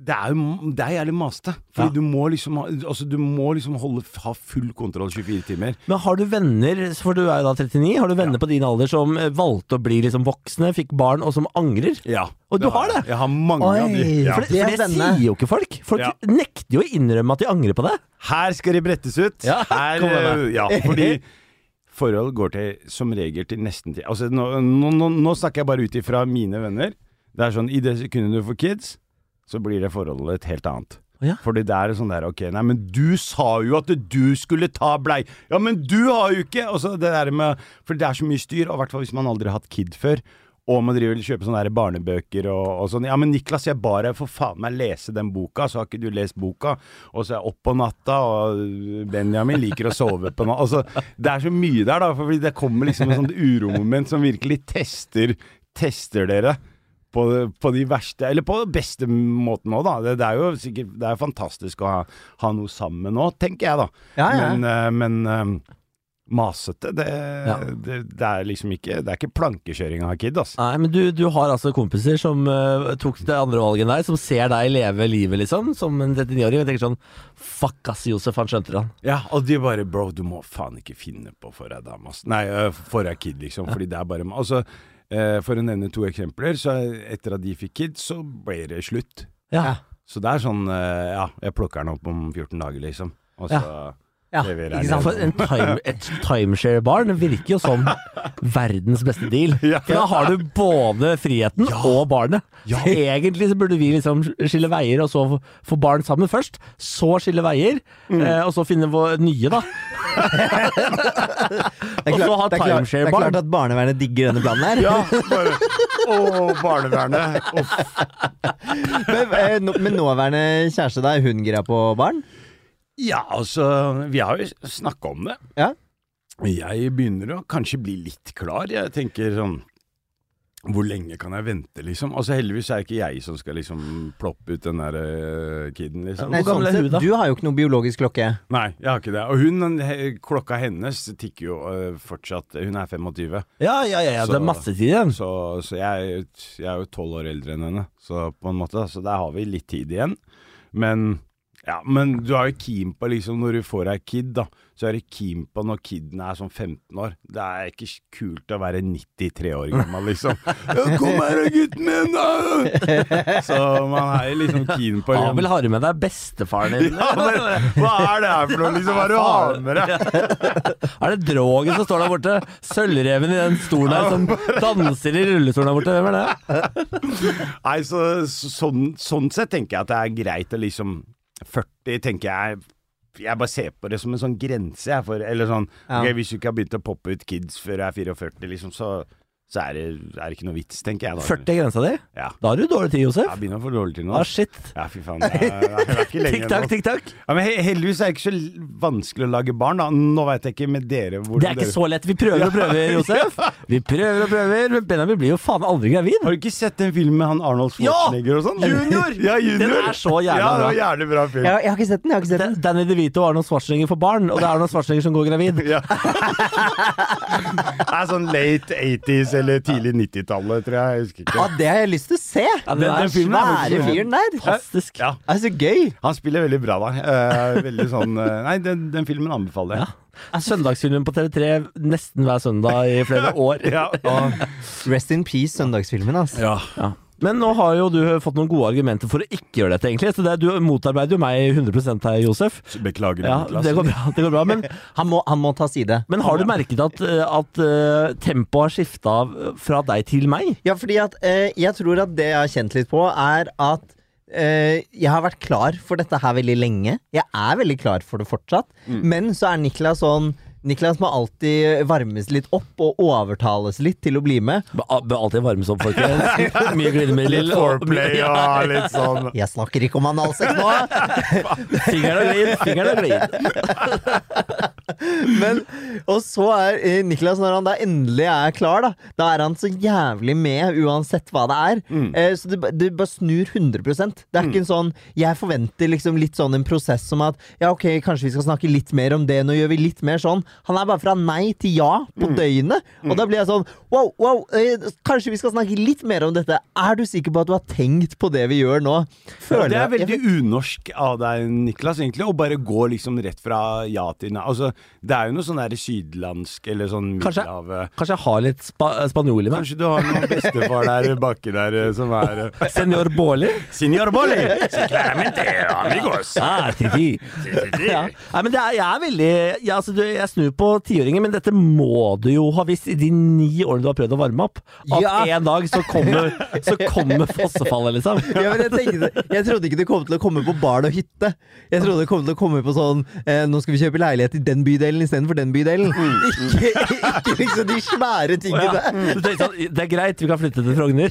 [SPEAKER 3] det er jo det er jævlig masete. Fordi
[SPEAKER 1] Ja.
[SPEAKER 3] du må liksom, ha, altså, du må liksom holde, ha full kontroll 24 timer.
[SPEAKER 1] Men har du venner, for du er jo da 39, har du venner på din alder som eh, valgte å bli liksom voksne, fikk barn, og som angrer?
[SPEAKER 3] Ja.
[SPEAKER 1] Og du har det?
[SPEAKER 3] Jeg har mange av de.
[SPEAKER 2] Oi.
[SPEAKER 3] Ja.
[SPEAKER 1] For det,
[SPEAKER 2] Det er
[SPEAKER 1] for det
[SPEAKER 2] spennende.
[SPEAKER 1] sier jo ikke folk. Folk
[SPEAKER 3] Ja.
[SPEAKER 1] nekter jo å innrømme at de angrer på det.
[SPEAKER 3] Her skal de brettes ut.
[SPEAKER 1] Ja,
[SPEAKER 3] Her,
[SPEAKER 1] kom med
[SPEAKER 3] eh, ja, fordi forhold går til, som regel til nesten til altså, nå, nå, nå, nå snakker jeg bare ut ifra mine venner. Det er sånn, I det sekundet du får kids, så blir det forholdet et helt annet.
[SPEAKER 1] Å ja.
[SPEAKER 3] Fordi det er sånn der Ok, nei, men du sa jo at du skulle ta blei Ja, men du har jo ikke Og så det der med For det er så mye styr Og i hvert fall hvis man aldri har hatt kid før Og man driver og kjøper sånne der barnebøker og, og sånn Ja, men Niklas, jeg bare får faen meg lese den boka Så har ikke du lest boka Og så er jeg opp på natta Og Benjamin liker å sove på natta Altså, det er så mye der da Fordi det kommer liksom et sånt uromoment Som virkelig tester Tester dere på, på de verste, eller på den beste måten òg, da. Det, det er jo sikkert det er fantastisk å ha, ha noe sammen nå, tenker jeg, da.
[SPEAKER 2] Ja, ja.
[SPEAKER 3] Men, eh, men eh, masete, det,
[SPEAKER 1] Ja.
[SPEAKER 3] det, det er liksom ikke Det er ikke plankekjøring av kid, ass.
[SPEAKER 1] Nei, men du, du har altså kompiser som eh, tok det andre valget enn deg, som ser deg leve livet, liksom, som en 39-åring, og tenker sånn Fuck ass, Josef, han skjønte det, han.
[SPEAKER 3] Ja, og de bare Bro, du må faen ikke finne på for deg dame, ass. Nei, eh, for deg kid, liksom. Fordi det er bare Altså, eh, for å nevne to eksempler, så etter at de fikk kid, så ble det slutt.
[SPEAKER 1] Ja.
[SPEAKER 3] Så det er sånn eh, Ja, jeg plukker den opp om 14 dager, liksom. Og så
[SPEAKER 2] Ja,
[SPEAKER 3] leverer jeg
[SPEAKER 2] ikke sant?
[SPEAKER 3] den
[SPEAKER 1] For en time, et timeshare-barn virker jo som verdens beste deal.
[SPEAKER 3] Ja.
[SPEAKER 1] For da har du både friheten og barnet.
[SPEAKER 3] Ja.
[SPEAKER 1] Så egentlig så burde vi liksom skille veier, og så få- få barn sammen først. Så skille veier,
[SPEAKER 3] Mm.
[SPEAKER 1] eh, og så finne vår nye, da.
[SPEAKER 2] Det er
[SPEAKER 1] Og så ha
[SPEAKER 2] klart, det er klart, det er
[SPEAKER 1] timeshare-barn.
[SPEAKER 2] klart at barnevernet digger denne planen her.
[SPEAKER 3] Ja, bare Å, barnevernet. Uff.
[SPEAKER 2] Men, eh, nå- men nåværende kjæreste deg, hun gira på barn?
[SPEAKER 3] Ja, altså, vi har jo snakka om det.
[SPEAKER 2] Ja.
[SPEAKER 3] Jeg begynner å kanskje bli litt klar. Jeg tenker sånn Hvor lenge kan jeg vente, liksom? Altså, heldigvis er det ikke jeg som skal liksom ploppe ut den der eh, kiden, liksom.
[SPEAKER 2] Nei,
[SPEAKER 1] Hvor gammel
[SPEAKER 2] sånn
[SPEAKER 1] er hun
[SPEAKER 2] sett,
[SPEAKER 1] da?
[SPEAKER 2] Du har jo ikke noe biologisk klokke.
[SPEAKER 3] Nei, jeg har ikke det. Og hun, den he- klokka hennes tikker jo eh, fortsatt Hun er 25,
[SPEAKER 1] Ja, ja, ja, ja. det
[SPEAKER 3] Så-
[SPEAKER 1] er masse tid igjen.
[SPEAKER 3] så, så jeg, jeg er jo 12 år eldre enn henne, så på en måte. da. Så der har vi litt tid igjen. Men ja, men du er jo keen på liksom når du får deg kid, da. Så er du keen på når kiden er sånn 15 år. Det er ikke kult å være 93 år gammel, liksom. Ja, 'Kom her, da, gutten min!' Da! Så man er jo liksom keen på
[SPEAKER 1] Abel
[SPEAKER 3] liksom,
[SPEAKER 1] har jo med deg bestefaren din.
[SPEAKER 3] ja, men, Hva er det her for noe, liksom? Hva er det du har med deg?
[SPEAKER 1] Er det drogen som står der borte? Sølvreven i den stolen her som danser i rullestolen der borte? Hvem er det?
[SPEAKER 3] Nei, så, så- sånn, sånn sett tenker jeg at det er greit å liksom 40 tenker jeg jeg bare ser på det som en sånn grense. Jeg for, eller sånn,
[SPEAKER 2] Ja.
[SPEAKER 3] ok, Hvis du ikke har begynt å poppe ut kids før jeg er 44, liksom, så, så er, det, er det ikke noe vits, tenker jeg. Da.
[SPEAKER 1] 40 er grensa di?
[SPEAKER 3] Ja.
[SPEAKER 1] Da har du dårlig tid, Josef.
[SPEAKER 3] Jeg begynner å få dårlig tid nå.
[SPEAKER 1] Ah, shit.
[SPEAKER 3] Ja, fy faen. Det er, det er ikke lenge
[SPEAKER 1] Tikk takk,
[SPEAKER 3] igjen. nå.
[SPEAKER 1] tikk takk.
[SPEAKER 3] Ja, men he- heldigvis er det ikke så l- vanskelig å lage barn. Da. Nå veit jeg ikke med dere hvordan
[SPEAKER 1] Det er ikke
[SPEAKER 3] dere
[SPEAKER 1] så lett. Vi prøver og prøver, Josef. Vi prøver og prøver, men Benjamin blir jo faen aldri gravid.
[SPEAKER 3] Har du ikke sett den filmen med han Arnold
[SPEAKER 1] Ja!
[SPEAKER 3] Schwarzenegger og sånn?
[SPEAKER 1] Junior!
[SPEAKER 3] ja, junior!
[SPEAKER 1] Den er så jævla
[SPEAKER 3] ja, det var
[SPEAKER 1] bra.
[SPEAKER 3] jævlig bra film.
[SPEAKER 2] Jeg, jeg har ikke sett den. jeg har ikke sett den
[SPEAKER 1] Danny DeVito og Arnold Schwarzenegger får barn, og det er Arnold Schwarzenegger som går gravid.
[SPEAKER 3] Ja. det er sånn late 80s, eller tidlig 90-tallet, tror jeg. jeg husker ikke.
[SPEAKER 2] Ja, det har jeg lyst til å se!
[SPEAKER 1] det
[SPEAKER 3] Den-
[SPEAKER 1] er
[SPEAKER 3] den filmen er
[SPEAKER 2] Svære
[SPEAKER 3] faktisk-
[SPEAKER 2] fyren der. Det
[SPEAKER 1] Fantastisk.
[SPEAKER 3] Ja.
[SPEAKER 2] er så gøy!
[SPEAKER 3] Han spiller veldig bra der. Eh, veldig sånn eh, Nei, den, den filmen anbefaler jeg.
[SPEAKER 1] Søndagsfilmen på TV3 nesten hver søndag i flere år.
[SPEAKER 3] Ja.
[SPEAKER 2] Rest in peace, søndagsfilmen, altså.
[SPEAKER 1] Ja. Men nå har jo du fått noen gode argumenter for å ikke gjøre dette, egentlig. Så det, du motarbeider jo meg 100 her, Josef.
[SPEAKER 3] Beklager,
[SPEAKER 1] Ja,
[SPEAKER 3] Niklas.
[SPEAKER 1] det går bra. Det går bra. Men,
[SPEAKER 2] Han må, han må ta side.
[SPEAKER 1] men har du merket at, eh, at eh, tempoet har skifta fra deg til meg?
[SPEAKER 2] Ja, fordi at eh, jeg tror at det jeg har kjent litt på, er at eh, jeg har vært klar for dette her veldig lenge. Jeg er veldig klar for det fortsatt. Men så er Niklas sånn Niklas må alltid varmes litt opp og overtales litt til å bli med.
[SPEAKER 1] Bør bør alltid varmes opp, folkens. Mye glidemiddel.
[SPEAKER 3] Litt foreplay og litt sånn
[SPEAKER 2] Jeg snakker ikke om analsex nå,
[SPEAKER 1] Fingeren og glid, fingeren og glid.
[SPEAKER 2] men Og så er eh, Niklas, når han da endelig er klar, da Da er han så jævlig med, uansett hva det er.
[SPEAKER 3] Mm.
[SPEAKER 2] Eh, så det, ba- det bare snur 100 Det er ikke en sånn Jeg forventer liksom litt sånn en prosess som at ja, ok, kanskje vi skal snakke litt mer om det, nå gjør vi litt mer sånn. Han er bare fra nei til ja
[SPEAKER 3] Mm.
[SPEAKER 2] på døgnet, og da blir jeg sånn wow, wow, eh, kanskje vi skal snakke litt mer om dette. Er du sikker på at du har tenkt på det vi gjør nå?
[SPEAKER 3] Ja,
[SPEAKER 2] Føler
[SPEAKER 3] det er
[SPEAKER 2] jeg-
[SPEAKER 3] veldig unorsk av deg, Niklas, egentlig, å bare gå liksom rett fra ja til nei. Altså, det er jo noe sånn der sydlandsk eller sånn
[SPEAKER 1] Kanskje-
[SPEAKER 3] middelhavet
[SPEAKER 1] Kanskje jeg har litt spa eh, spanjol i meg?
[SPEAKER 3] Kanskje du har noen bestefar der baki der eh, som er eh,
[SPEAKER 1] Senor Baarli?
[SPEAKER 3] Signor Bolli! Si Clemente, amigos!
[SPEAKER 1] Ah, titi. Ja. Nei, men det er, jeg er veldig ja, altså, du, Jeg snur på tiåringer, men dette må du jo ha visst i de ni årene du har prøvd å varme opp. At
[SPEAKER 2] Ja.
[SPEAKER 1] en dag så kommer, så kommer fossefallet, liksom.
[SPEAKER 2] Ja, men jeg, tenkte, jeg trodde ikke det kom til å komme på barn og hytte. Jeg trodde det kom til å komme på sånn eh, Nå skal vi kjøpe leilighet i den bydelen istedenfor den bydelen. Ikke, ikke liksom de svære
[SPEAKER 1] Mm. Å, ja.
[SPEAKER 2] tingene.
[SPEAKER 1] Du tenkte sånn, det er greit, vi kan flytte til Frogner.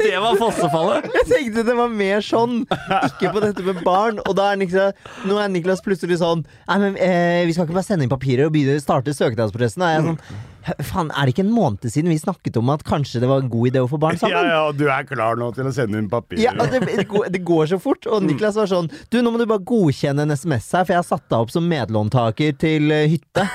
[SPEAKER 1] Det var fossefallet.
[SPEAKER 2] Jeg tenkte det var mer sånn, ikke på dette med barn. Og da er Niklas, nå er Niklas plutselig sånn Nei, men eh, vi skal ikke bare sende inn papirer og begynne starte søknadsprosessen. Da er jeg sånn Faen, er det ikke en måned siden vi snakket om at kanskje det var en god idé å få barn
[SPEAKER 1] sånn.
[SPEAKER 2] sammen?
[SPEAKER 3] Ja, ja, og du er klar nå til å sende inn papirer.
[SPEAKER 2] Ja, og det, det, går, det går så fort. Og Niklas var sånn Du, nå må du bare godkjenne en SMS her, for jeg har satt deg opp som medlåntaker til eh, hytte.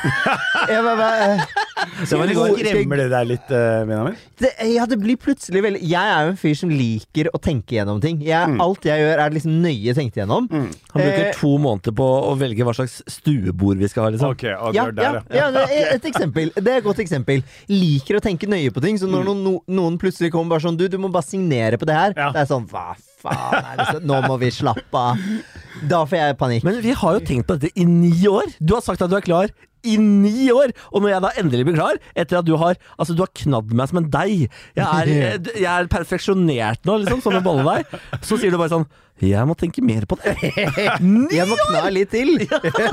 [SPEAKER 2] Jeg bare, eh, bare,
[SPEAKER 1] Det var i går.
[SPEAKER 3] Skremmer det deg litt, eh, Benjamin?
[SPEAKER 2] det, ja, det blir plutselig veldig Jeg er jo en fyr som liker å tenke gjennom ting. Jeg, alt jeg gjør, er liksom nøye tenkt gjennom.
[SPEAKER 1] Han bruker
[SPEAKER 2] Eh,
[SPEAKER 1] to måneder på å velge hva slags stuebord vi skal ha, liksom.
[SPEAKER 3] Ok, og du
[SPEAKER 2] ja, ja,
[SPEAKER 3] er der, ja.
[SPEAKER 2] ja, det er et eksempel. Det er et godt eksempel. Liker å tenke nøye på ting. Så når noen, no- noen plutselig kommer bare sånn Du, du må bare signere på det her.
[SPEAKER 3] Ja.
[SPEAKER 2] Det er sånn Hva faen er det så- Nå må vi slappe av. Da får jeg panikk.
[SPEAKER 1] Men vi har jo tenkt på dette i ni år. Du har sagt at du er klar i ni år! Og når jeg da endelig blir klar, etter at du har Altså, du har knadd meg som en deig. Jeg er, eh, jeg er perfeksjonert nå, liksom, som en bolledeig. Så sier du bare sånn Jeg må tenke mer på det. Ni
[SPEAKER 2] Jeg må
[SPEAKER 1] år!
[SPEAKER 2] kna litt til.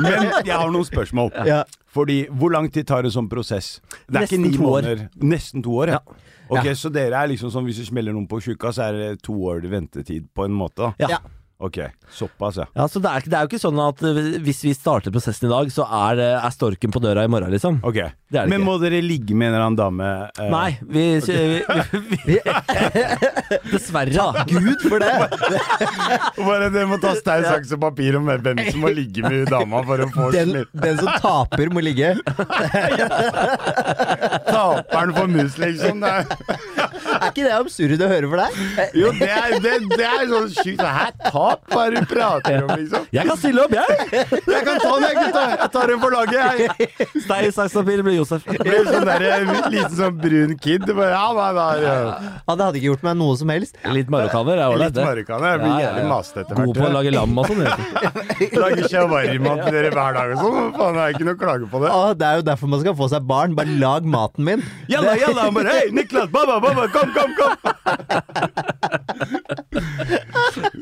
[SPEAKER 3] Men jeg har noen spørsmål.
[SPEAKER 2] Ja.
[SPEAKER 3] Fordi, Hvor lang tid tar en sånn prosess? Det er
[SPEAKER 1] Nesten
[SPEAKER 3] ikke ni
[SPEAKER 1] to år.
[SPEAKER 3] måneder. Nesten to år, ja. Ok,
[SPEAKER 1] Ja.
[SPEAKER 3] Så dere er liksom sånn hvis du smeller noen på tjukka, så er det to år ventetid på en måte? da?
[SPEAKER 1] Ja.
[SPEAKER 2] Ja.
[SPEAKER 3] Ok, såpass, ja.
[SPEAKER 1] Ja, så det er, ikke- det er jo ikke sånn at eh, hvis vi starter prosessen i dag, så er, det- er storken på døra i morgen, liksom.
[SPEAKER 3] Ok,
[SPEAKER 1] Det er det
[SPEAKER 3] Men
[SPEAKER 1] ikke.
[SPEAKER 3] må dere ligge med en eller annen dame? eh,
[SPEAKER 1] Nei, vi, eh, vi, vi, vi Dessverre, da.
[SPEAKER 2] Gud for det!
[SPEAKER 3] og Bare Dere må ta stein, saks og papir om hvem som må ligge med dama for å få
[SPEAKER 2] Den,
[SPEAKER 3] smitt.
[SPEAKER 2] den som taper, må ligge.
[SPEAKER 3] Taperen får mus, liksom. Det er-
[SPEAKER 2] Er ikke det absurd å høre for deg? Eh,
[SPEAKER 3] Jo, det er, det, det er sånn sjukt. Hæ, tap? Hva er det du prater om, liksom?
[SPEAKER 1] Jeg kan stille opp, jeg!
[SPEAKER 3] Jeg kan ta den, jeg, gutta. Jeg tar den for laget, jeg.
[SPEAKER 1] Stein, saks, papir blir Josef.
[SPEAKER 3] Det Blir sånn der, liten sånn brun kid. Det Bare, ja, nei, nei, ja.
[SPEAKER 2] Ja, det hadde ikke gjort meg noe som helst.
[SPEAKER 1] Litt marokkaner er ålreit,
[SPEAKER 3] Litt
[SPEAKER 1] det.
[SPEAKER 3] marokkaner. Jeg blir jævlig masete etter
[SPEAKER 1] God på å
[SPEAKER 3] hvert.
[SPEAKER 1] lage lam og sånn. egentlig.
[SPEAKER 3] Lager shawarma til dere hver dag og sånn. Faen, jeg har ikke noe å klage på det.
[SPEAKER 2] Å, det er jo derfor man skal få seg barn. Bare lag maten min.
[SPEAKER 3] Jalla, jalla, han bare Hei, Niklas, baba, baba, kom, kom, kom!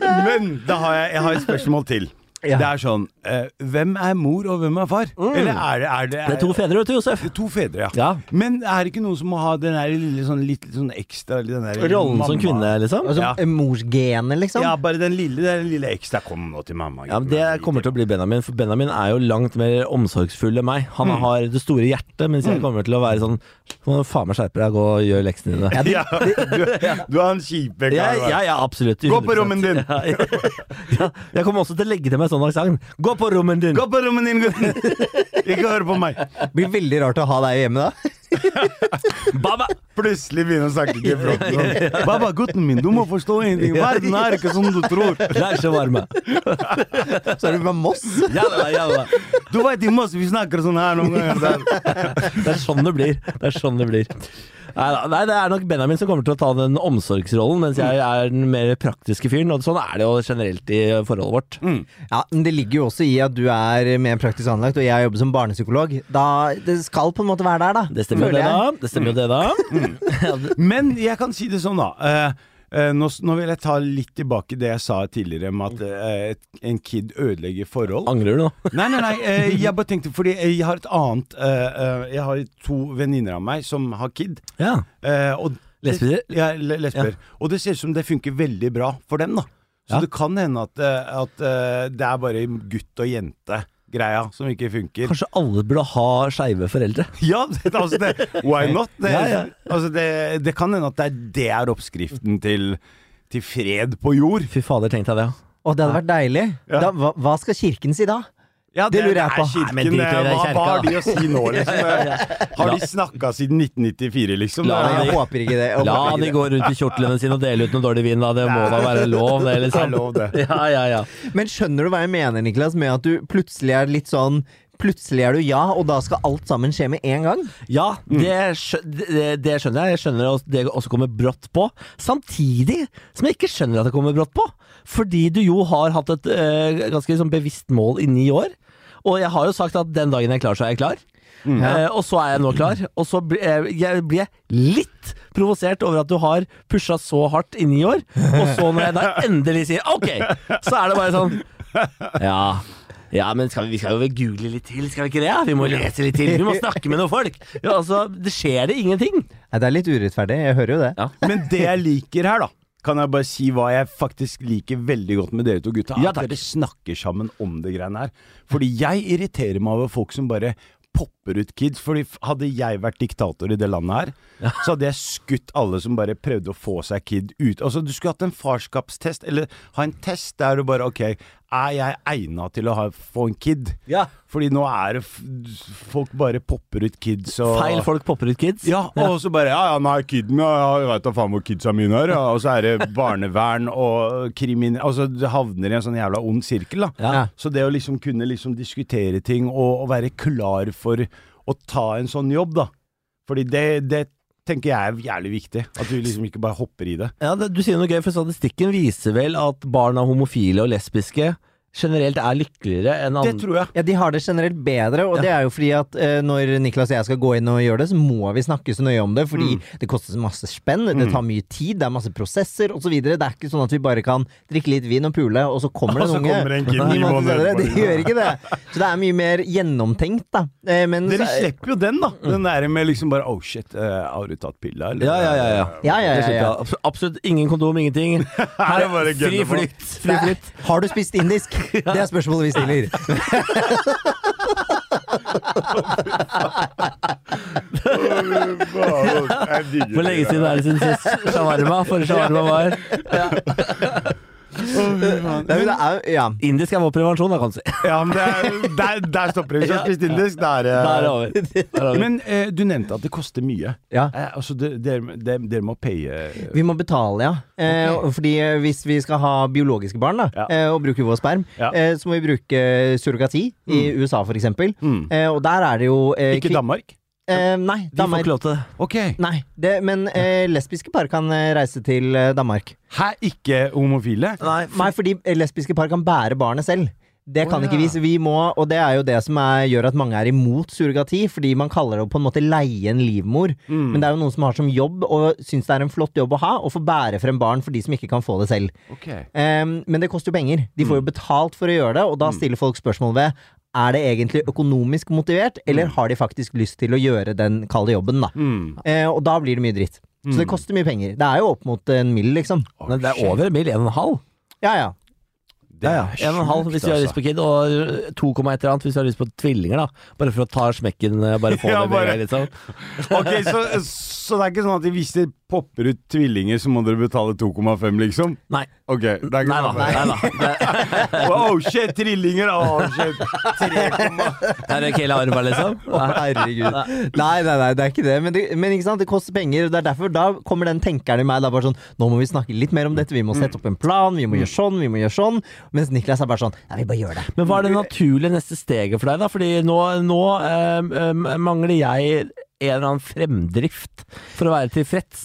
[SPEAKER 3] Men da har jeg, jeg har et spørsmål til.
[SPEAKER 2] Ja.
[SPEAKER 3] Det er sånn eh, Hvem er mor, og hvem er far? Eller er det er det,
[SPEAKER 1] Mm. Det er to fedre, vet du, Josef.
[SPEAKER 3] To fedre, ja.
[SPEAKER 1] Ja.
[SPEAKER 3] Men er det ikke noen som må ha den der lille sånn, litt sånn ekstra den der,
[SPEAKER 1] Rollen som
[SPEAKER 3] mamma-
[SPEAKER 1] kvinne, liksom.
[SPEAKER 2] Altså,
[SPEAKER 3] Ja.
[SPEAKER 2] Morsgenet, liksom.
[SPEAKER 3] Ja, bare den lille, den lille ekstra. Kom nå til mamma.
[SPEAKER 1] Ja, men Det kommer til å bli Benjamin, for Benjamin er jo langt mer omsorgsfull enn meg. Han
[SPEAKER 3] Mm.
[SPEAKER 1] har det store hjertet, mens jeg kommer til å være sånn Må du faen meg skjerpe deg, gå og gjør leksene dine. Ja,
[SPEAKER 3] ja, du, du er han kjipe
[SPEAKER 1] ja,
[SPEAKER 3] karen.
[SPEAKER 1] ja, absolutt.
[SPEAKER 3] Gå på rommet ditt!
[SPEAKER 1] Ja, ja. Jeg kommer også til å legge til meg med sånn aksent. Gå på rommet din!
[SPEAKER 3] Gå på rommet din, gutten! Ikke hør på meg!
[SPEAKER 2] Det blir veldig rart å ha deg hjemme da.
[SPEAKER 1] Baba!
[SPEAKER 3] Plutselig begynner å snakke gevrotten. Baba, gutten min, du må forstå en ting. Verden er ikke som du tror.
[SPEAKER 1] Det er så varme.
[SPEAKER 2] Så er du fra Moss.
[SPEAKER 1] Jalla, jalla.
[SPEAKER 3] Du veit i Moss, vi snakker sånn her noen ganger.
[SPEAKER 1] Det er sånn det blir. Det er sånn det blir. Neida, Nei, det er nok Benjamin som kommer til å ta den omsorgsrollen, mens jeg er den mer praktiske fyren. Og sånn er det jo generelt i forholdet vårt.
[SPEAKER 3] Mm.
[SPEAKER 2] Ja, men det ligger jo også i at du er mer praktisk anlagt, og jeg jobber som barnepsykolog. Da, det skal på en måte være der, da.
[SPEAKER 1] Det stemmer jo det,
[SPEAKER 2] føler jeg.
[SPEAKER 1] da. Det stemmer jo det
[SPEAKER 3] Mm.
[SPEAKER 1] da.
[SPEAKER 3] Men jeg kan si det sånn, da. Eh, eh, nå, s- nå vil jeg ta litt tilbake det jeg sa tidligere om at eh, et, en kid ødelegger forhold.
[SPEAKER 1] Angrer du nå?
[SPEAKER 3] Nei, nei, nei. eh, jeg bare tenkte fordi jeg har et annet eh, eh, Jeg har to venninner av meg som har kid.
[SPEAKER 1] Ja.
[SPEAKER 3] Eh, og det-
[SPEAKER 1] Lesbier?
[SPEAKER 3] Ja, le- lesber. Og det ser ut som det funker veldig bra for dem, da. Så
[SPEAKER 1] Ja.
[SPEAKER 3] det kan hende at, eh, at eh, det er bare gutt og jente-greia som ikke funker.
[SPEAKER 1] Kanskje alle burde ha skeive foreldre?
[SPEAKER 3] Ja, det, altså det, why not? Det,
[SPEAKER 1] Ja, ja.
[SPEAKER 3] Altså det, det kan hende at det er, det er oppskriften til, til fred på jord.
[SPEAKER 1] Fy fader, tenk deg det.
[SPEAKER 2] Å, det hadde vært deilig.
[SPEAKER 3] Ja.
[SPEAKER 2] Da, hva, hva skal kirken si da?
[SPEAKER 3] Ja,
[SPEAKER 2] Det lurer jeg
[SPEAKER 3] er
[SPEAKER 2] på.
[SPEAKER 3] Kirken,
[SPEAKER 1] Nei, men drit i
[SPEAKER 3] eh,
[SPEAKER 1] det,
[SPEAKER 3] hva, hva har
[SPEAKER 1] kjerka,
[SPEAKER 3] de å si nå, liksom? Har de snakka siden 1994, liksom?
[SPEAKER 1] La
[SPEAKER 3] Det
[SPEAKER 2] Nei,
[SPEAKER 3] er-
[SPEAKER 1] de-
[SPEAKER 2] jeg håper ikke det. Jeg håper
[SPEAKER 1] La
[SPEAKER 2] ikke
[SPEAKER 1] de
[SPEAKER 2] det.
[SPEAKER 1] gå rundt i kjortlene sine og dele ut noe dårlig vin, da. Det må da være lov, det,
[SPEAKER 3] Det er
[SPEAKER 1] liksom.
[SPEAKER 3] lov, det.
[SPEAKER 1] Ja, ja, ja.
[SPEAKER 2] Men skjønner du hva jeg mener, Niklas, med at du plutselig er litt sånn Plutselig er du ja, og da skal alt sammen skje med en gang?
[SPEAKER 1] Ja, det, skjø- det, det skjønner jeg. Jeg skjønner at det også kommer brått på. Samtidig som jeg ikke skjønner at det kommer brått på. Fordi du jo har hatt et eh, ganske sånn bevisst mål i ni år. Og jeg har jo sagt at den dagen jeg er klar, så er jeg klar. Eh, og så er jeg nå klar. Og så blir jeg, jeg blir litt provosert over at du har pusha så hardt i ni år, og så når jeg da endelig sier OK, så er det bare sånn ja. Ja, men skal vi, vi skal jo vel google litt til, skal vi ikke det? Vi må lese litt til, vi må snakke med noen folk. Ja, altså, det skjer det ingenting.
[SPEAKER 2] Nei, det er litt urettferdig, jeg hører jo det.
[SPEAKER 1] Ja.
[SPEAKER 3] Men det jeg liker her, da, kan jeg bare si hva jeg faktisk liker veldig godt med dere to gutta?
[SPEAKER 1] Ja,
[SPEAKER 3] At
[SPEAKER 1] takk.
[SPEAKER 3] dere snakker sammen om det greiene her. Fordi jeg irriterer meg over folk som bare popper ut kids. Fordi f- hadde jeg vært diktator i det landet her, så hadde jeg skutt alle som bare prøvde å få seg kid ut. Altså, du skulle hatt en farskapstest, eller ha en test der du bare OK, er jeg egna til å ha, få en kid?
[SPEAKER 1] Ja.
[SPEAKER 3] Fordi nå er det f Folk bare popper ut kids og
[SPEAKER 1] Feil folk popper ut kids.
[SPEAKER 3] ja, og så bare Ja, ja, nå er kiden min, ja, jeg veit da faen hvor kidsa mine er. Ja. Og så er det barnevern og krimin... Altså, du havner i en sånn jævla ond sirkel, da.
[SPEAKER 1] Ja.
[SPEAKER 3] Så det å liksom kunne liksom diskutere ting og, og være klar for å ta en sånn jobb, da. Fordi det, det tenker jeg er jævlig viktig. At du liksom ikke bare hopper i det.
[SPEAKER 1] Ja, det, du sier noe gøy, for statistikken viser vel at barn av homofile og lesbiske generelt er lykkeligere enn andre.
[SPEAKER 3] Det tror jeg.
[SPEAKER 2] Ja, De har det generelt bedre, og det er jo fordi at eh, når Niklas og jeg skal gå inn og gjøre det, så må vi snakke så nøye om det, fordi
[SPEAKER 3] Mm.
[SPEAKER 2] det koster så masse spenn, det tar mye tid, det er masse prosesser osv. Det er ikke sånn at vi bare kan drikke litt vin og pule, og så kommer det
[SPEAKER 3] Og så
[SPEAKER 2] en unge.
[SPEAKER 3] kommer det en kid
[SPEAKER 2] ni
[SPEAKER 3] ni
[SPEAKER 2] måneder
[SPEAKER 3] måneder
[SPEAKER 2] senere.
[SPEAKER 3] etterpå.
[SPEAKER 2] Det gjør ikke det. Så det er mye mer gjennomtenkt, da. Eh, men
[SPEAKER 3] Dere
[SPEAKER 2] så-
[SPEAKER 3] slipper jo den, da. Den der med liksom bare Oh shit, eh, har du tatt pilla,
[SPEAKER 1] Mm.
[SPEAKER 3] eller?
[SPEAKER 1] Ja, ja, ja. ja.
[SPEAKER 2] Ja, ja,
[SPEAKER 1] Det
[SPEAKER 2] ja,
[SPEAKER 1] slipper
[SPEAKER 2] ja.
[SPEAKER 1] jeg. Abs- Absolutt ingen kondom, ingenting. Her
[SPEAKER 3] er bare å
[SPEAKER 1] fri
[SPEAKER 3] gønne på.
[SPEAKER 1] flyt. Fri flyt.
[SPEAKER 2] Har du spist indisk? Det er spørsmålet vi stiller.
[SPEAKER 3] altså. Jeg digger
[SPEAKER 1] Hvor lenge siden er det siden sist shawarma? For shawarma var
[SPEAKER 2] Det er, jo- det er, jo- ja.
[SPEAKER 1] Indisk er vår prevensjon, da, kan du si.
[SPEAKER 3] Ja, men det er, der, der stopper det. Hvis du har spist indisk, da er det
[SPEAKER 1] Da er det over. Da er det over.
[SPEAKER 3] Men eh, du nevnte at det koster mye.
[SPEAKER 2] Ja.
[SPEAKER 3] Eh, altså, det- dere dere- dere må paye
[SPEAKER 2] Vi må betale, ja. Eh, Fordi eh, hvis vi skal ha biologiske barn da,
[SPEAKER 3] Ja.
[SPEAKER 2] eh, og bruke vår sperm,
[SPEAKER 3] Ja.
[SPEAKER 2] eh, så må vi bruke surrogati i USA for eksempel.
[SPEAKER 3] Mm.
[SPEAKER 2] Eh, og der er det jo eh,
[SPEAKER 3] Ikke
[SPEAKER 2] kvin-
[SPEAKER 3] Danmark?
[SPEAKER 2] Eh, nei,
[SPEAKER 1] Vi får
[SPEAKER 2] Danmark.
[SPEAKER 1] ikke lov til det.
[SPEAKER 3] Ok.
[SPEAKER 2] Nei, det, men eh, lesbiske par kan eh, reise til eh, Danmark.
[SPEAKER 3] Hæ, ikke homofile?
[SPEAKER 1] Nei,
[SPEAKER 2] Nei, fordi eh, lesbiske par kan bære barnet selv. Det
[SPEAKER 3] Å,
[SPEAKER 2] kan ikke
[SPEAKER 3] ja.
[SPEAKER 2] vi, så vi må, og det er jo det som er, gjør at mange er imot surrogati, fordi man kaller det å på en måte leie en livmor.
[SPEAKER 3] Mm.
[SPEAKER 2] Men det er jo noen som har som jobb, og syns det er en flott jobb å ha, å få bære frem barn for de som ikke kan få det selv.
[SPEAKER 3] Ok.
[SPEAKER 2] Ehm, men det koster jo penger. De får jo
[SPEAKER 3] Mm.
[SPEAKER 2] betalt for å gjøre det, og da stiller folk spørsmål ved er det egentlig økonomisk motivert, eller har de faktisk lyst til å gjøre den kalde jobben, da?
[SPEAKER 3] Mm.
[SPEAKER 2] Eh, og da blir det mye dritt. Så det koster mye penger. Det er jo opp mot en mill, liksom.
[SPEAKER 1] Nei, det er over en mil. En og en halv.
[SPEAKER 2] Ja, ja.
[SPEAKER 1] Ja, altså. ja. En og en halv hvis du har lyst på kid, og 2,1 eller annet hvis du har lyst på tvillinger. da Bare for å ta smekken. eh, Bare få
[SPEAKER 3] Ja,
[SPEAKER 1] det med
[SPEAKER 3] bare-
[SPEAKER 1] en gang, liksom.
[SPEAKER 3] Ok, så, Så det er ikke sånn at de viser popper ut tvillinger, så må dere betale 2,5, liksom?
[SPEAKER 1] Nei.
[SPEAKER 3] Ok, det er ikke
[SPEAKER 1] Nei da.
[SPEAKER 3] sånn.
[SPEAKER 1] Nei, da. Det
[SPEAKER 3] Wow, shit, trillinger! Oh, shit. 3,5.
[SPEAKER 1] det er ikke hele arva, liksom. Nei.
[SPEAKER 2] Herregud. Nei, nei, nei, det er ikke det. Men, det, men ikke sant? det koster penger. og Det er derfor da kommer den tenkeren i meg. Da bare sånn, Nå må vi snakke litt mer om dette. Vi må sette opp en plan. Vi må gjøre sånn. Vi må gjøre sånn. Mens Niklas er bare sånn Ja, vi bare gjør det.
[SPEAKER 1] Men hva er det naturlige neste steget for deg, da? Fordi nå, nå øhm, øhm, mangler jeg en eller annen fremdrift for å være tilfreds.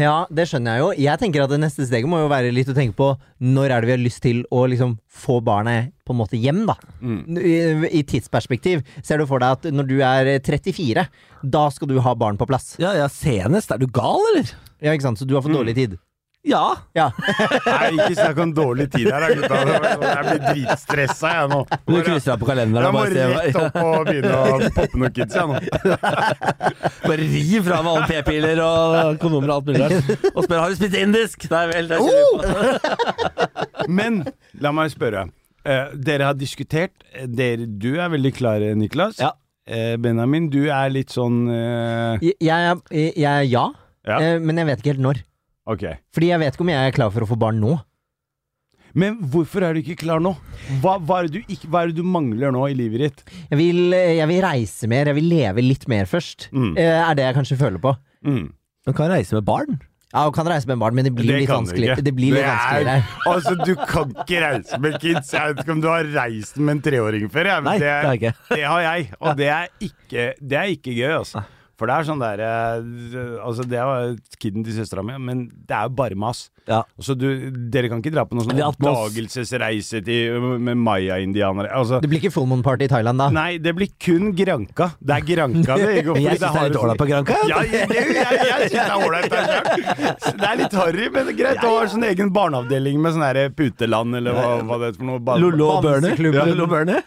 [SPEAKER 2] Ja, det skjønner jeg jo. Jeg tenker at det neste steget må jo være litt å tenke på når er det vi har lyst til å liksom få barnet på en måte hjem, da. I, I tidsperspektiv. Ser du for deg at når du er 34, da skal du ha barn på plass.
[SPEAKER 1] Ja, ja, senest. Er du gal, eller?
[SPEAKER 2] Ja, ikke sant? Så du har fått dårlig tid.
[SPEAKER 1] Ja.
[SPEAKER 2] Ja.
[SPEAKER 3] Nei, ikke snakk om dårlig tid her, da, gutta. Det var sånn, Jeg blir dritstressa, jeg nå.
[SPEAKER 1] Du krysser av på kalenderen
[SPEAKER 3] Jeg
[SPEAKER 1] og
[SPEAKER 3] må
[SPEAKER 1] bare
[SPEAKER 3] rett
[SPEAKER 1] ser
[SPEAKER 3] opp og begynne å poppe noen kids, jeg nå.
[SPEAKER 1] Bare riv fra med alle p-piller og kondomer og alt mulig der. Og spør har du spist indisk. Nei vel, det kjenner vi på.
[SPEAKER 3] Men la meg spørre. Eh, dere har diskutert. Eh, Dere, du er veldig klar, Niklas.
[SPEAKER 1] Ja.
[SPEAKER 3] Eh, Benjamin, du er litt sånn eh,
[SPEAKER 2] Jeg, jeg, jeg, jeg ja,
[SPEAKER 3] Ja.
[SPEAKER 2] Eh, men jeg vet ikke helt når.
[SPEAKER 3] Ok.
[SPEAKER 2] Fordi jeg vet ikke om jeg er klar for å få barn nå.
[SPEAKER 3] Men hvorfor er du ikke klar nå? Hva, hva, er det du ikke, hva er det du mangler nå i livet ditt?
[SPEAKER 2] Jeg vil, eh, jeg vil reise mer, jeg vil leve litt mer først.
[SPEAKER 3] Mm.
[SPEAKER 2] Eh, er det jeg kanskje føler på.
[SPEAKER 3] Mm.
[SPEAKER 1] Man kan reise med barn.
[SPEAKER 2] Ja, og kan reise med barn, men det blir litt
[SPEAKER 3] kan du
[SPEAKER 2] vanskelig.
[SPEAKER 3] ikke.
[SPEAKER 2] Det blir litt
[SPEAKER 3] Det er-
[SPEAKER 2] vanskeligere.
[SPEAKER 3] Altså, du kan ikke reise med kids. Jeg vet ikke om du har reist med en treåring før. Jeg.
[SPEAKER 1] Nei, det har jeg ikke.
[SPEAKER 3] det har jeg, og det er ikke, det er ikke gøy, altså. For det er sånn der eh, Altså, det var kiden til søstera mi, men det er jo bare mas.
[SPEAKER 1] Ja.
[SPEAKER 3] Altså, du, dere kan ikke dra på noen sånn
[SPEAKER 1] Det er at man-
[SPEAKER 3] oppdagelsesreise til, med maya-indianere. Altså,
[SPEAKER 2] Det blir ikke full moon party i Thailand da.
[SPEAKER 3] nei, det blir kun Granka. Det er Granka det går
[SPEAKER 1] Men
[SPEAKER 3] fordi
[SPEAKER 1] jeg syns det
[SPEAKER 3] har
[SPEAKER 1] er litt
[SPEAKER 3] en sånn-
[SPEAKER 1] ålreit på Granca.
[SPEAKER 3] ja, jeg, jeg, jeg, jeg synes det er ålreit der selv. Det er litt harry, men det er greit. Du har sånn egen barneavdeling med sånn her puteland, eller hva, hva det er for noe. Ba-
[SPEAKER 1] Lollo og Bernie.
[SPEAKER 3] Ja,
[SPEAKER 1] Lollo og Bernie.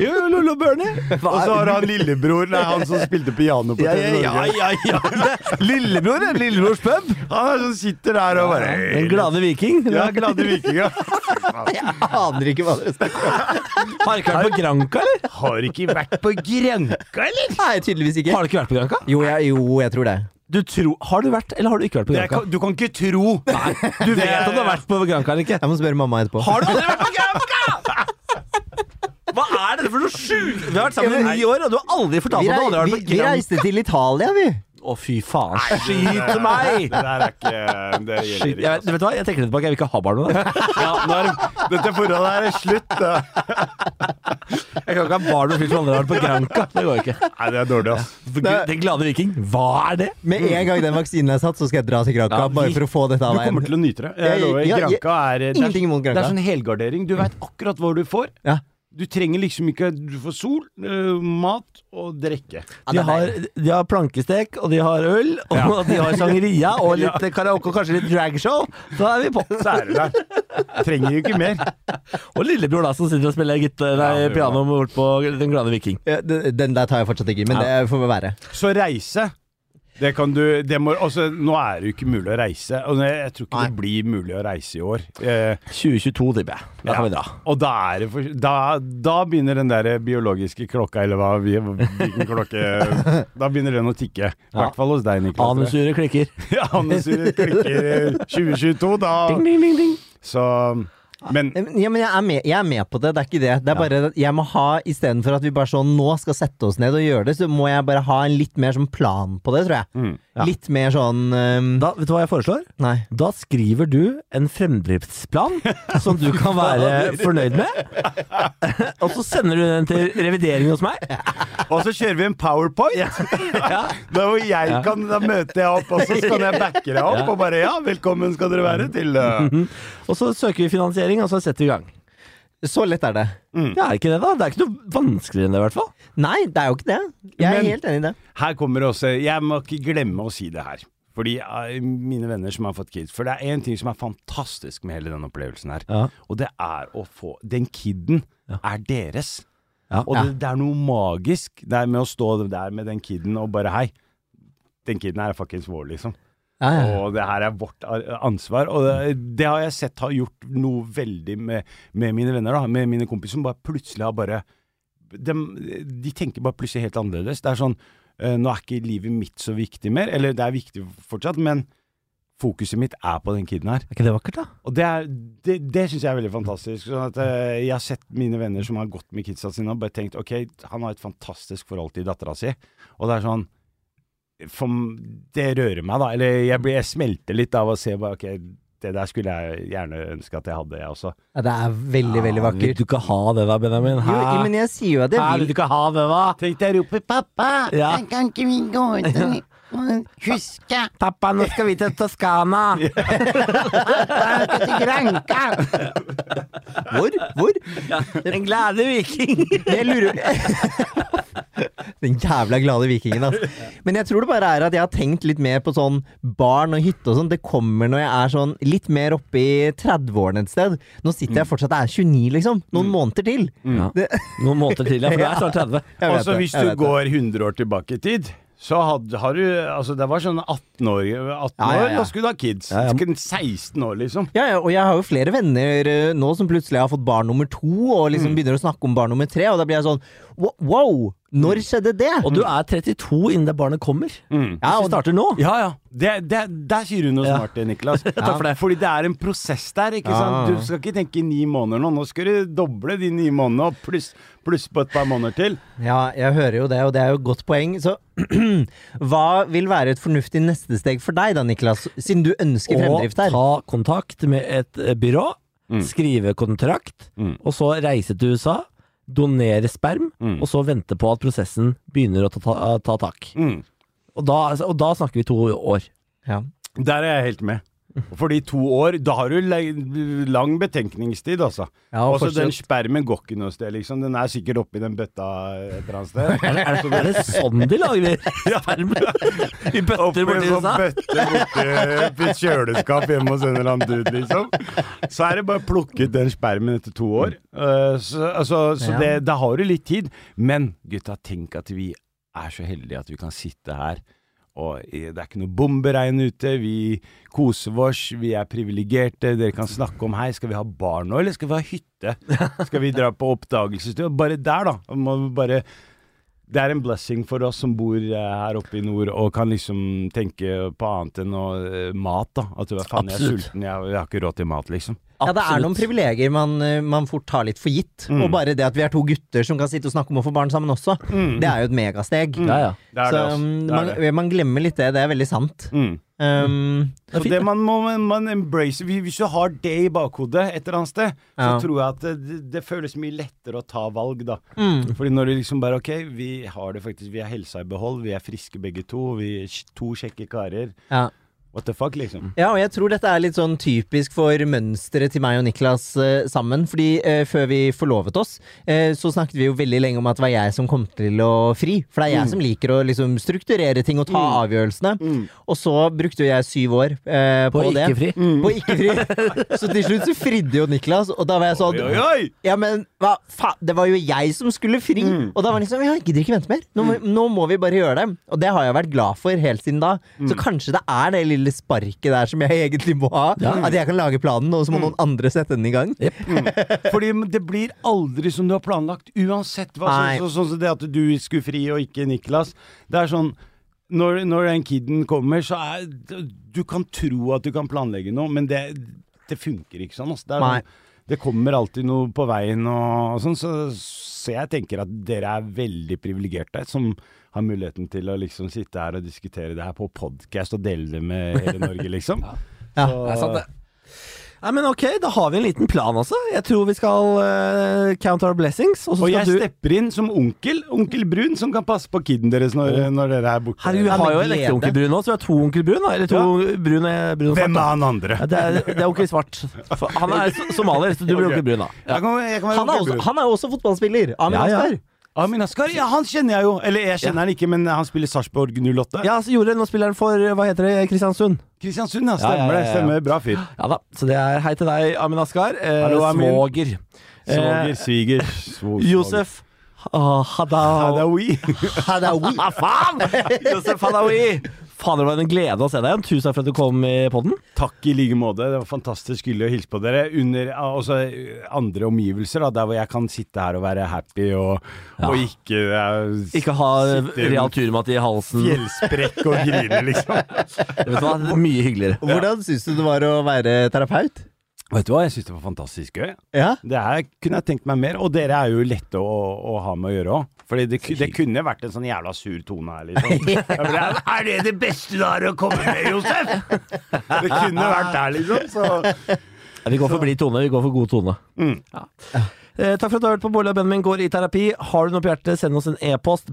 [SPEAKER 1] Jo, jo, Lollo og Bernie.
[SPEAKER 3] Og så har han lillebror, nei, han som spilte piano på
[SPEAKER 1] Ja, ja,
[SPEAKER 3] TV
[SPEAKER 1] ja,
[SPEAKER 3] Norge.
[SPEAKER 1] ja, ja. Lillebror, ja. Lillebrors pub.
[SPEAKER 3] Han er sånn sitter der og bare
[SPEAKER 1] Den glade viking.
[SPEAKER 3] Ja, glade vikinga.
[SPEAKER 2] Jeg aner ikke hva dere snakker om.
[SPEAKER 1] Har ikke vært på Granca, eller?
[SPEAKER 3] Har ikke vært på Grenka, eller?
[SPEAKER 2] Nei, tydeligvis ikke.
[SPEAKER 1] Har du ikke vært på Granca?
[SPEAKER 2] Jo, jeg, jo, jeg tror det.
[SPEAKER 1] Du tro, har du vært, eller har du ikke vært på
[SPEAKER 3] Det
[SPEAKER 1] Granca?
[SPEAKER 3] kan, du kan ikke tro!
[SPEAKER 1] Du vet at du har vært på Granca eller ikke?
[SPEAKER 2] Jeg må spørre mamma etterpå.
[SPEAKER 1] Har du aldri vært på Granca?! Hva er dette for noe sjukt?! Vi har vært sammen i ni år, og du har aldri fortalt
[SPEAKER 2] vi,
[SPEAKER 1] at du
[SPEAKER 2] rei,
[SPEAKER 1] aldri har
[SPEAKER 2] vi,
[SPEAKER 1] vært på
[SPEAKER 2] vi
[SPEAKER 1] Granca.
[SPEAKER 2] reiste til Italia, vi.
[SPEAKER 1] Å, fy faen. Skyt meg!
[SPEAKER 3] Det der er ikke Det
[SPEAKER 1] Skyt. Jeg,
[SPEAKER 3] gjelder ikke.
[SPEAKER 1] vet- vet du hva, jeg tenker litt tilbake. Jeg vil ikke ha barn med deg. Ja, nå er det-
[SPEAKER 3] altså. Dette forholdet her er slutt. da.
[SPEAKER 1] Jeg kan ikke ha barn med fyr som aldri har vært på Granca. Det går ikke.
[SPEAKER 3] Nei, det er dårlig, ass.
[SPEAKER 1] For Gud, Den glade viking, hva er det?
[SPEAKER 2] Med en gang den vaksinen er satt, så skal jeg dra til Granca.
[SPEAKER 1] Ja, vi-
[SPEAKER 2] bare for å få dette av
[SPEAKER 3] Du kommer
[SPEAKER 2] veien.
[SPEAKER 3] til å nyte det. Jeg
[SPEAKER 1] Eh,
[SPEAKER 2] Jeg-
[SPEAKER 3] lover.
[SPEAKER 2] ja, jeg-
[SPEAKER 3] Granka er eh, det er-
[SPEAKER 2] ingenting imot Granca.
[SPEAKER 3] Det er sånn helgardering. Du veit akkurat hva du får.
[SPEAKER 2] Ja.
[SPEAKER 3] Du trenger liksom ikke Du får sol, eh, mat og drikke.
[SPEAKER 1] De har, de har plankestek, og de har øl, og de har sangeria og litt karaoke og kanskje litt dragshow. Da er vi på.
[SPEAKER 3] Så er det der. Trenger jo ikke mer.
[SPEAKER 1] Og lillebror da, som sitter og spiller gitt, nei,
[SPEAKER 3] Ja, det er
[SPEAKER 1] piano bort på Den glade viking.
[SPEAKER 2] Ja, Eh, den, den der tar jeg fortsatt ikke, men det får være.
[SPEAKER 3] Så reise. Det kan du det må, altså, Nå er det jo ikke mulig å reise. Og jeg, jeg tror ikke det blir mulig å reise i år. Eh,
[SPEAKER 1] 2022, tipper jeg. Da kan vi dra.
[SPEAKER 3] og da er det for, da, da begynner den der biologiske klokka, eller hva vi- hvilken klokke Da begynner den å tikke. I hvert fall hos deg, Niklas. tror jeg.
[SPEAKER 1] Anusuret klikker.
[SPEAKER 3] Ja, Anusuret klikker 2022, da.
[SPEAKER 1] Ding, ding, ding, ding.
[SPEAKER 3] Så Men
[SPEAKER 2] Ja, Eh, men jeg er, med, jeg er med på det, det er ikke det. Det er bare at jeg må ha, Istedenfor at vi bare sånn nå skal sette oss ned og gjøre det, så må jeg bare ha en litt mer sånn plan på det, tror jeg. Litt mer sånn
[SPEAKER 1] Mm,
[SPEAKER 2] øhm,
[SPEAKER 1] Da, vet du hva jeg foreslår?
[SPEAKER 2] Nei.
[SPEAKER 1] Da skriver du en fremdriftsplan som du kan være fornøyd med. Og så sender du den til revidering hos meg.
[SPEAKER 3] Og så kjører vi en powerpoint!
[SPEAKER 1] Ja.
[SPEAKER 3] Da, hvor jeg kan, da møter jeg opp, og så kan jeg backe deg opp. Og bare ja, velkommen skal dere være til
[SPEAKER 1] Mhm,
[SPEAKER 3] eh,
[SPEAKER 1] Og så søker vi finansiering, og så setter vi i gang.
[SPEAKER 2] Så lett er det.
[SPEAKER 1] Det er ikke det, da. Det er ikke noe vanskeligere enn det, i hvert fall.
[SPEAKER 2] Nei, det er jo ikke det. Jeg er
[SPEAKER 3] Men-
[SPEAKER 2] helt enig i det.
[SPEAKER 3] Her kommer det også Jeg må ikke glemme å si det her. Fordi eh, mine venner som har fått kids For det er én ting som er fantastisk med hele denne opplevelsen her.
[SPEAKER 1] Ja.
[SPEAKER 3] Og det er å få Den kiden er deres.
[SPEAKER 1] Ja.
[SPEAKER 3] Og det, det er noe magisk det er med å stå der med den kiden og bare hei. Den kiden her er fuckings vår, liksom.
[SPEAKER 2] Ja, ja.
[SPEAKER 3] Og det her er vårt ar- ansvar. Og det, det har jeg sett har gjort noe veldig med, med mine venner, da, med mine kompiser, som bare plutselig har bare de, de tenker bare plutselig helt annerledes. Det er sånn eh, nå er ikke livet mitt så viktig mer. Eller det er viktig fortsatt, men fokuset mitt er på den kiden her.
[SPEAKER 1] Er ikke det vakkert, da?
[SPEAKER 3] Og det, er- det, det syns jeg er veldig fantastisk. Sånn at eh, Jeg har sett mine venner som har gått med kidsa sine og bare tenkt ok, han har et fantastisk forhold til dattera si. Og det er sånn for, m- Det rører meg, da. Eller jeg, blir, jeg smelter litt av å se bare ok, det der skulle jeg gjerne ønske at jeg hadde, jeg også.
[SPEAKER 2] Ja, det er
[SPEAKER 1] Ja,
[SPEAKER 2] veldig, veldig
[SPEAKER 1] Ah, Vil
[SPEAKER 2] vakkert.
[SPEAKER 1] du ikke ha det da, Benjamin?
[SPEAKER 2] Jo, men jeg sier jo
[SPEAKER 1] Hæ,
[SPEAKER 2] at jeg
[SPEAKER 1] vil
[SPEAKER 2] vil
[SPEAKER 1] du ikke ha det da?
[SPEAKER 3] Tenk deg rope 'pappa'!
[SPEAKER 1] Ja.
[SPEAKER 3] Kan ikke vi gå ut og huske
[SPEAKER 1] Pappa, nå skal vi til Toskana!
[SPEAKER 2] Hvor? Hvor?
[SPEAKER 1] Den glade viking!
[SPEAKER 2] Men Jeg lurer Den jævla glade vikingen, altså. Men jeg tror det bare er at jeg har tenkt litt mer på sånn barn og hytte og sånn. Det kommer når jeg er sånn litt mer oppe i 30-årene et sted. Nå sitter jeg fortsatt og er 29, liksom. Noen måneder til.
[SPEAKER 1] Ja.
[SPEAKER 2] Det,
[SPEAKER 1] Noen måneder til, ja, for du er snart 30.
[SPEAKER 2] jeg vet
[SPEAKER 3] Altså
[SPEAKER 2] det,
[SPEAKER 3] hvis
[SPEAKER 2] jeg
[SPEAKER 3] du
[SPEAKER 2] vet det.
[SPEAKER 3] går 100 år tilbake i tid så hadde, har du, altså det var sånn 18 år, 18
[SPEAKER 2] Ja, ja,
[SPEAKER 3] år
[SPEAKER 2] ja.
[SPEAKER 3] da skulle du ha kids.
[SPEAKER 1] Ja, ja.
[SPEAKER 3] 16 år liksom.
[SPEAKER 2] Ja, ja, og jeg har jo flere venner eh, nå som plutselig har fått barn nummer to, og liksom begynner å snakke om barn nummer tre, og da blir jeg sånn wo- Wow! Når skjedde det?
[SPEAKER 1] Og du er 32 innen det barnet kommer.
[SPEAKER 2] ja,
[SPEAKER 1] Hvis vi
[SPEAKER 2] og,
[SPEAKER 1] starter nå.
[SPEAKER 3] Ja, ja. Det, det, der sier du noe
[SPEAKER 1] Ja.
[SPEAKER 3] smart, Niklas.
[SPEAKER 1] Takk for det.
[SPEAKER 3] Fordi det er en prosess der, ikke
[SPEAKER 2] Ja.
[SPEAKER 3] sant? Du skal ikke tenke i ni måneder nå. Nå skal du doble de ni månedene, og pluss, pluss på et par måneder til.
[SPEAKER 2] ja, jeg hører jo det, og det er jo et godt poeng. Så hva vil være et fornuftig neste steg for deg da, Niklas? Siden du ønsker
[SPEAKER 1] Og
[SPEAKER 2] fremdrift her.
[SPEAKER 1] ta kontakt med et eh, byrå, skrive kontrakt,
[SPEAKER 3] Mm.
[SPEAKER 1] og så reise til USA, donere sperm,
[SPEAKER 3] Mm.
[SPEAKER 1] og så vente på at prosessen begynner å ta, ta, eh, ta tak.
[SPEAKER 3] Mm.
[SPEAKER 1] Og da, altså, og da snakker vi to år.
[SPEAKER 2] Ja.
[SPEAKER 3] Der er jeg helt med. Fordi to år, da har du le- lang betenkningstid, altså.
[SPEAKER 2] Ja, og
[SPEAKER 3] Også den
[SPEAKER 2] fortsatt-
[SPEAKER 3] spermen går ikke noe sted, liksom. Den er sikkert oppi den bøtta et eller annet sted.
[SPEAKER 1] Er det, er det, er det sånn de lager sperm? I bøtter borti
[SPEAKER 3] Oppi en
[SPEAKER 1] USA?
[SPEAKER 3] sånn bøtte borti et kjøleskap hjemme hos en eller annen dude, liksom. Så er det bare å plukke ut den spermen etter to år. Eh, Så, altså, så
[SPEAKER 2] Ja.
[SPEAKER 3] det, da har du litt tid. Men gutta, tenk at vi er så heldige at vi kan sitte her. Og eh, det er ikke noe bomberegn ute, vi koser oss, vi er privilegerte. Dere kan snakke om hei, skal vi ha barn nå, eller skal vi ha hytte? Skal vi dra på oppdagelsestur? Bare der, da. Må vi bare det er en blessing for oss som bor eh, her oppe i nord og kan liksom tenke på annet enn å, eh, mat, da. At du er faen, jeg er
[SPEAKER 1] Absolutt.
[SPEAKER 3] sulten, jeg, jeg har ikke råd til mat, liksom.
[SPEAKER 2] ja, det er noen
[SPEAKER 1] Absolutt.
[SPEAKER 2] privilegier man, eh, man fort tar litt for gitt.
[SPEAKER 3] Mm.
[SPEAKER 2] Og bare det at vi er to gutter som kan sitte og snakke om å få barn sammen også,
[SPEAKER 3] Mm.
[SPEAKER 2] det er jo et megasteg.
[SPEAKER 1] Ja, ja.
[SPEAKER 3] Det
[SPEAKER 2] Så
[SPEAKER 3] er det, altså.
[SPEAKER 2] um,
[SPEAKER 3] Det er
[SPEAKER 2] man,
[SPEAKER 3] det.
[SPEAKER 2] man glemmer litt det. Det er veldig sant.
[SPEAKER 3] Mm.
[SPEAKER 2] Um,
[SPEAKER 1] er fint,
[SPEAKER 3] Så det
[SPEAKER 1] det.
[SPEAKER 3] man må man embrace Hvis hvis du har det i bakhodet et eller annet sted,
[SPEAKER 2] Ja.
[SPEAKER 3] så tror jeg at det, det føles mye lettere å ta valg, da.
[SPEAKER 1] Mm.
[SPEAKER 3] Fordi når du liksom bare OK, vi har det faktisk, vi har helsa i behold, vi er friske begge to, vi er to kjekke karer.
[SPEAKER 2] ja.
[SPEAKER 3] What the fuck, liksom.
[SPEAKER 2] ja, og jeg tror dette er litt sånn typisk for mønsteret til meg og Niklas eh, sammen. Fordi eh, før vi forlovet oss, eh, så snakket vi jo veldig lenge om at det var jeg som kom til å fri. For det er jeg som liker å liksom strukturere ting og ta avgjørelsene. Og så brukte jo jeg syv år eh,
[SPEAKER 1] På
[SPEAKER 2] på, det.
[SPEAKER 1] ikke-fri.
[SPEAKER 2] På ikke fri. så til slutt så fridde jo Niklas, og da var jeg
[SPEAKER 1] Mm.
[SPEAKER 2] sånn
[SPEAKER 3] Oi, oi, oi!
[SPEAKER 2] Ja, men hva faen? Det var jo jeg som skulle fri!
[SPEAKER 1] Mm.
[SPEAKER 2] Og da var det liksom Jeg gidder ikke vente mer. Nå må, nå må vi bare gjøre det. Og det har jeg vært glad for helt siden da.
[SPEAKER 1] Mm.
[SPEAKER 2] Så kanskje det er det lille sparket der som jeg egentlig må ha. At jeg kan lage planen, og så
[SPEAKER 1] Mm.
[SPEAKER 2] må noen andre sette den i gang.
[SPEAKER 3] Fordi det blir aldri som du har planlagt, uansett hva.
[SPEAKER 2] Nei.
[SPEAKER 3] Sånn så, sånn som det at du skulle fri og ikke Niklas. Det er sånn når, når den kiden kommer, så er Du kan tro at du kan planlegge noe, men det, det funker ikke sånn. Altså. Det,
[SPEAKER 2] Nei.
[SPEAKER 3] er sånn det kommer alltid noe på veien og, og sånn, så, så jeg tenker at dere er veldig privilegerte som har muligheten til å liksom sitte her og diskutere det her på podkast og dele det med hele Norge, liksom.
[SPEAKER 2] Ja,
[SPEAKER 3] Så-
[SPEAKER 1] Det er sant, det. Nei, men ok, da har vi en liten plan, altså. Jeg tror vi skal eh, count our blessings. Og så
[SPEAKER 3] Og jeg
[SPEAKER 1] skal du
[SPEAKER 3] stepper inn som onkel, onkel Brun, som kan passe på kiden deres når, når dere er borte.
[SPEAKER 1] Herregud, vi
[SPEAKER 2] Ja, men
[SPEAKER 1] har jo en
[SPEAKER 2] glede.
[SPEAKER 1] ekte onkel Brun nå, så vi har to onkel Brun. da. Eller to brun, og- brun og svart.
[SPEAKER 3] Hvem
[SPEAKER 1] da.
[SPEAKER 3] er han andre?
[SPEAKER 1] Ja, det, er, det er onkel Svart. For Han er so- somalier, så du blir
[SPEAKER 3] Ok.
[SPEAKER 1] onkel Brun, da. Ja.
[SPEAKER 3] Jeg kan, jeg kan være
[SPEAKER 2] Han er
[SPEAKER 3] onkel
[SPEAKER 2] også,
[SPEAKER 3] Brun.
[SPEAKER 2] han er jo også fotballspiller. Amin
[SPEAKER 1] Ja, ja.
[SPEAKER 2] Askar.
[SPEAKER 3] Amin Askar, ja, han kjenner jeg jo. Eller jeg kjenner han ikke, men han spiller Sarpsborg 08.
[SPEAKER 1] Ja, så gjorde nå spilleren for eh, hva heter det, Kristiansund.
[SPEAKER 3] Kristiansund, ja.
[SPEAKER 1] Ja, ja,
[SPEAKER 3] Stemmer
[SPEAKER 1] ja,
[SPEAKER 3] det.
[SPEAKER 1] ja.
[SPEAKER 3] Stemmer. Bra fyr.
[SPEAKER 1] Ja da, Så det er hei til deg, Amin Askar. Eh,
[SPEAKER 3] Hallo, Amin.
[SPEAKER 1] Svoger. Eh,
[SPEAKER 3] Svoger, sviger, svog-
[SPEAKER 1] Josef
[SPEAKER 3] svoger.
[SPEAKER 1] Hadaoui.
[SPEAKER 3] Hadaoui.
[SPEAKER 2] Hadaoui.
[SPEAKER 1] Faen! Josef Hadaoui. Fader, det var en glede å se deg igjen. Tusen takk for at du kom i podden.
[SPEAKER 3] Takk i like måte. Det var fantastisk hyggelig å hilse på dere. Under ah, også eh, andre omgivelser, da, der hvor jeg kan sitte her og være happy og, og ikke eh,
[SPEAKER 1] Ikke ha
[SPEAKER 3] Sitter-
[SPEAKER 1] real turmat i halsen.
[SPEAKER 3] fjellsprekk og grine, liksom.
[SPEAKER 1] Vet du hva, det er mye hyggeligere.
[SPEAKER 2] Hvordan syns du det var å være terapeut?
[SPEAKER 3] Vet du hva, jeg syns det var fantastisk gøy.
[SPEAKER 2] Ja?
[SPEAKER 3] Det her kunne jeg tenkt meg mer, og dere er jo lette å, å ha med å gjøre òg. Fordi det, ku- det kunne vært en sånn jævla sur tone her, liksom. Jeg bare, Er det det beste du har å komme med, Josef? Det kunne vært der, liksom. Så
[SPEAKER 1] Ja, Vi går for blid tone, vi går for god tone. Ja. Eh, takk for at du har hørt på Bolle og Benjamin går i terapi. Har du noe på hjertet, send oss en e-post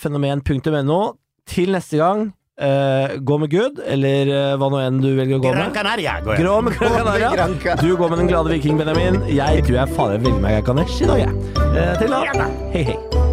[SPEAKER 1] bb.fenomen.no. Til neste gang, eh, gå med Gud, eller eh, hva nå enn du velger å gå
[SPEAKER 3] Gran
[SPEAKER 1] med.
[SPEAKER 3] Canaria går jeg.
[SPEAKER 1] Grå med Gran Canaria. Du går med den glade viking, Benjamin. Jeg tror jeg fader velger meg Ganesh i dag, jeg. Eh, til da. Hei, hei.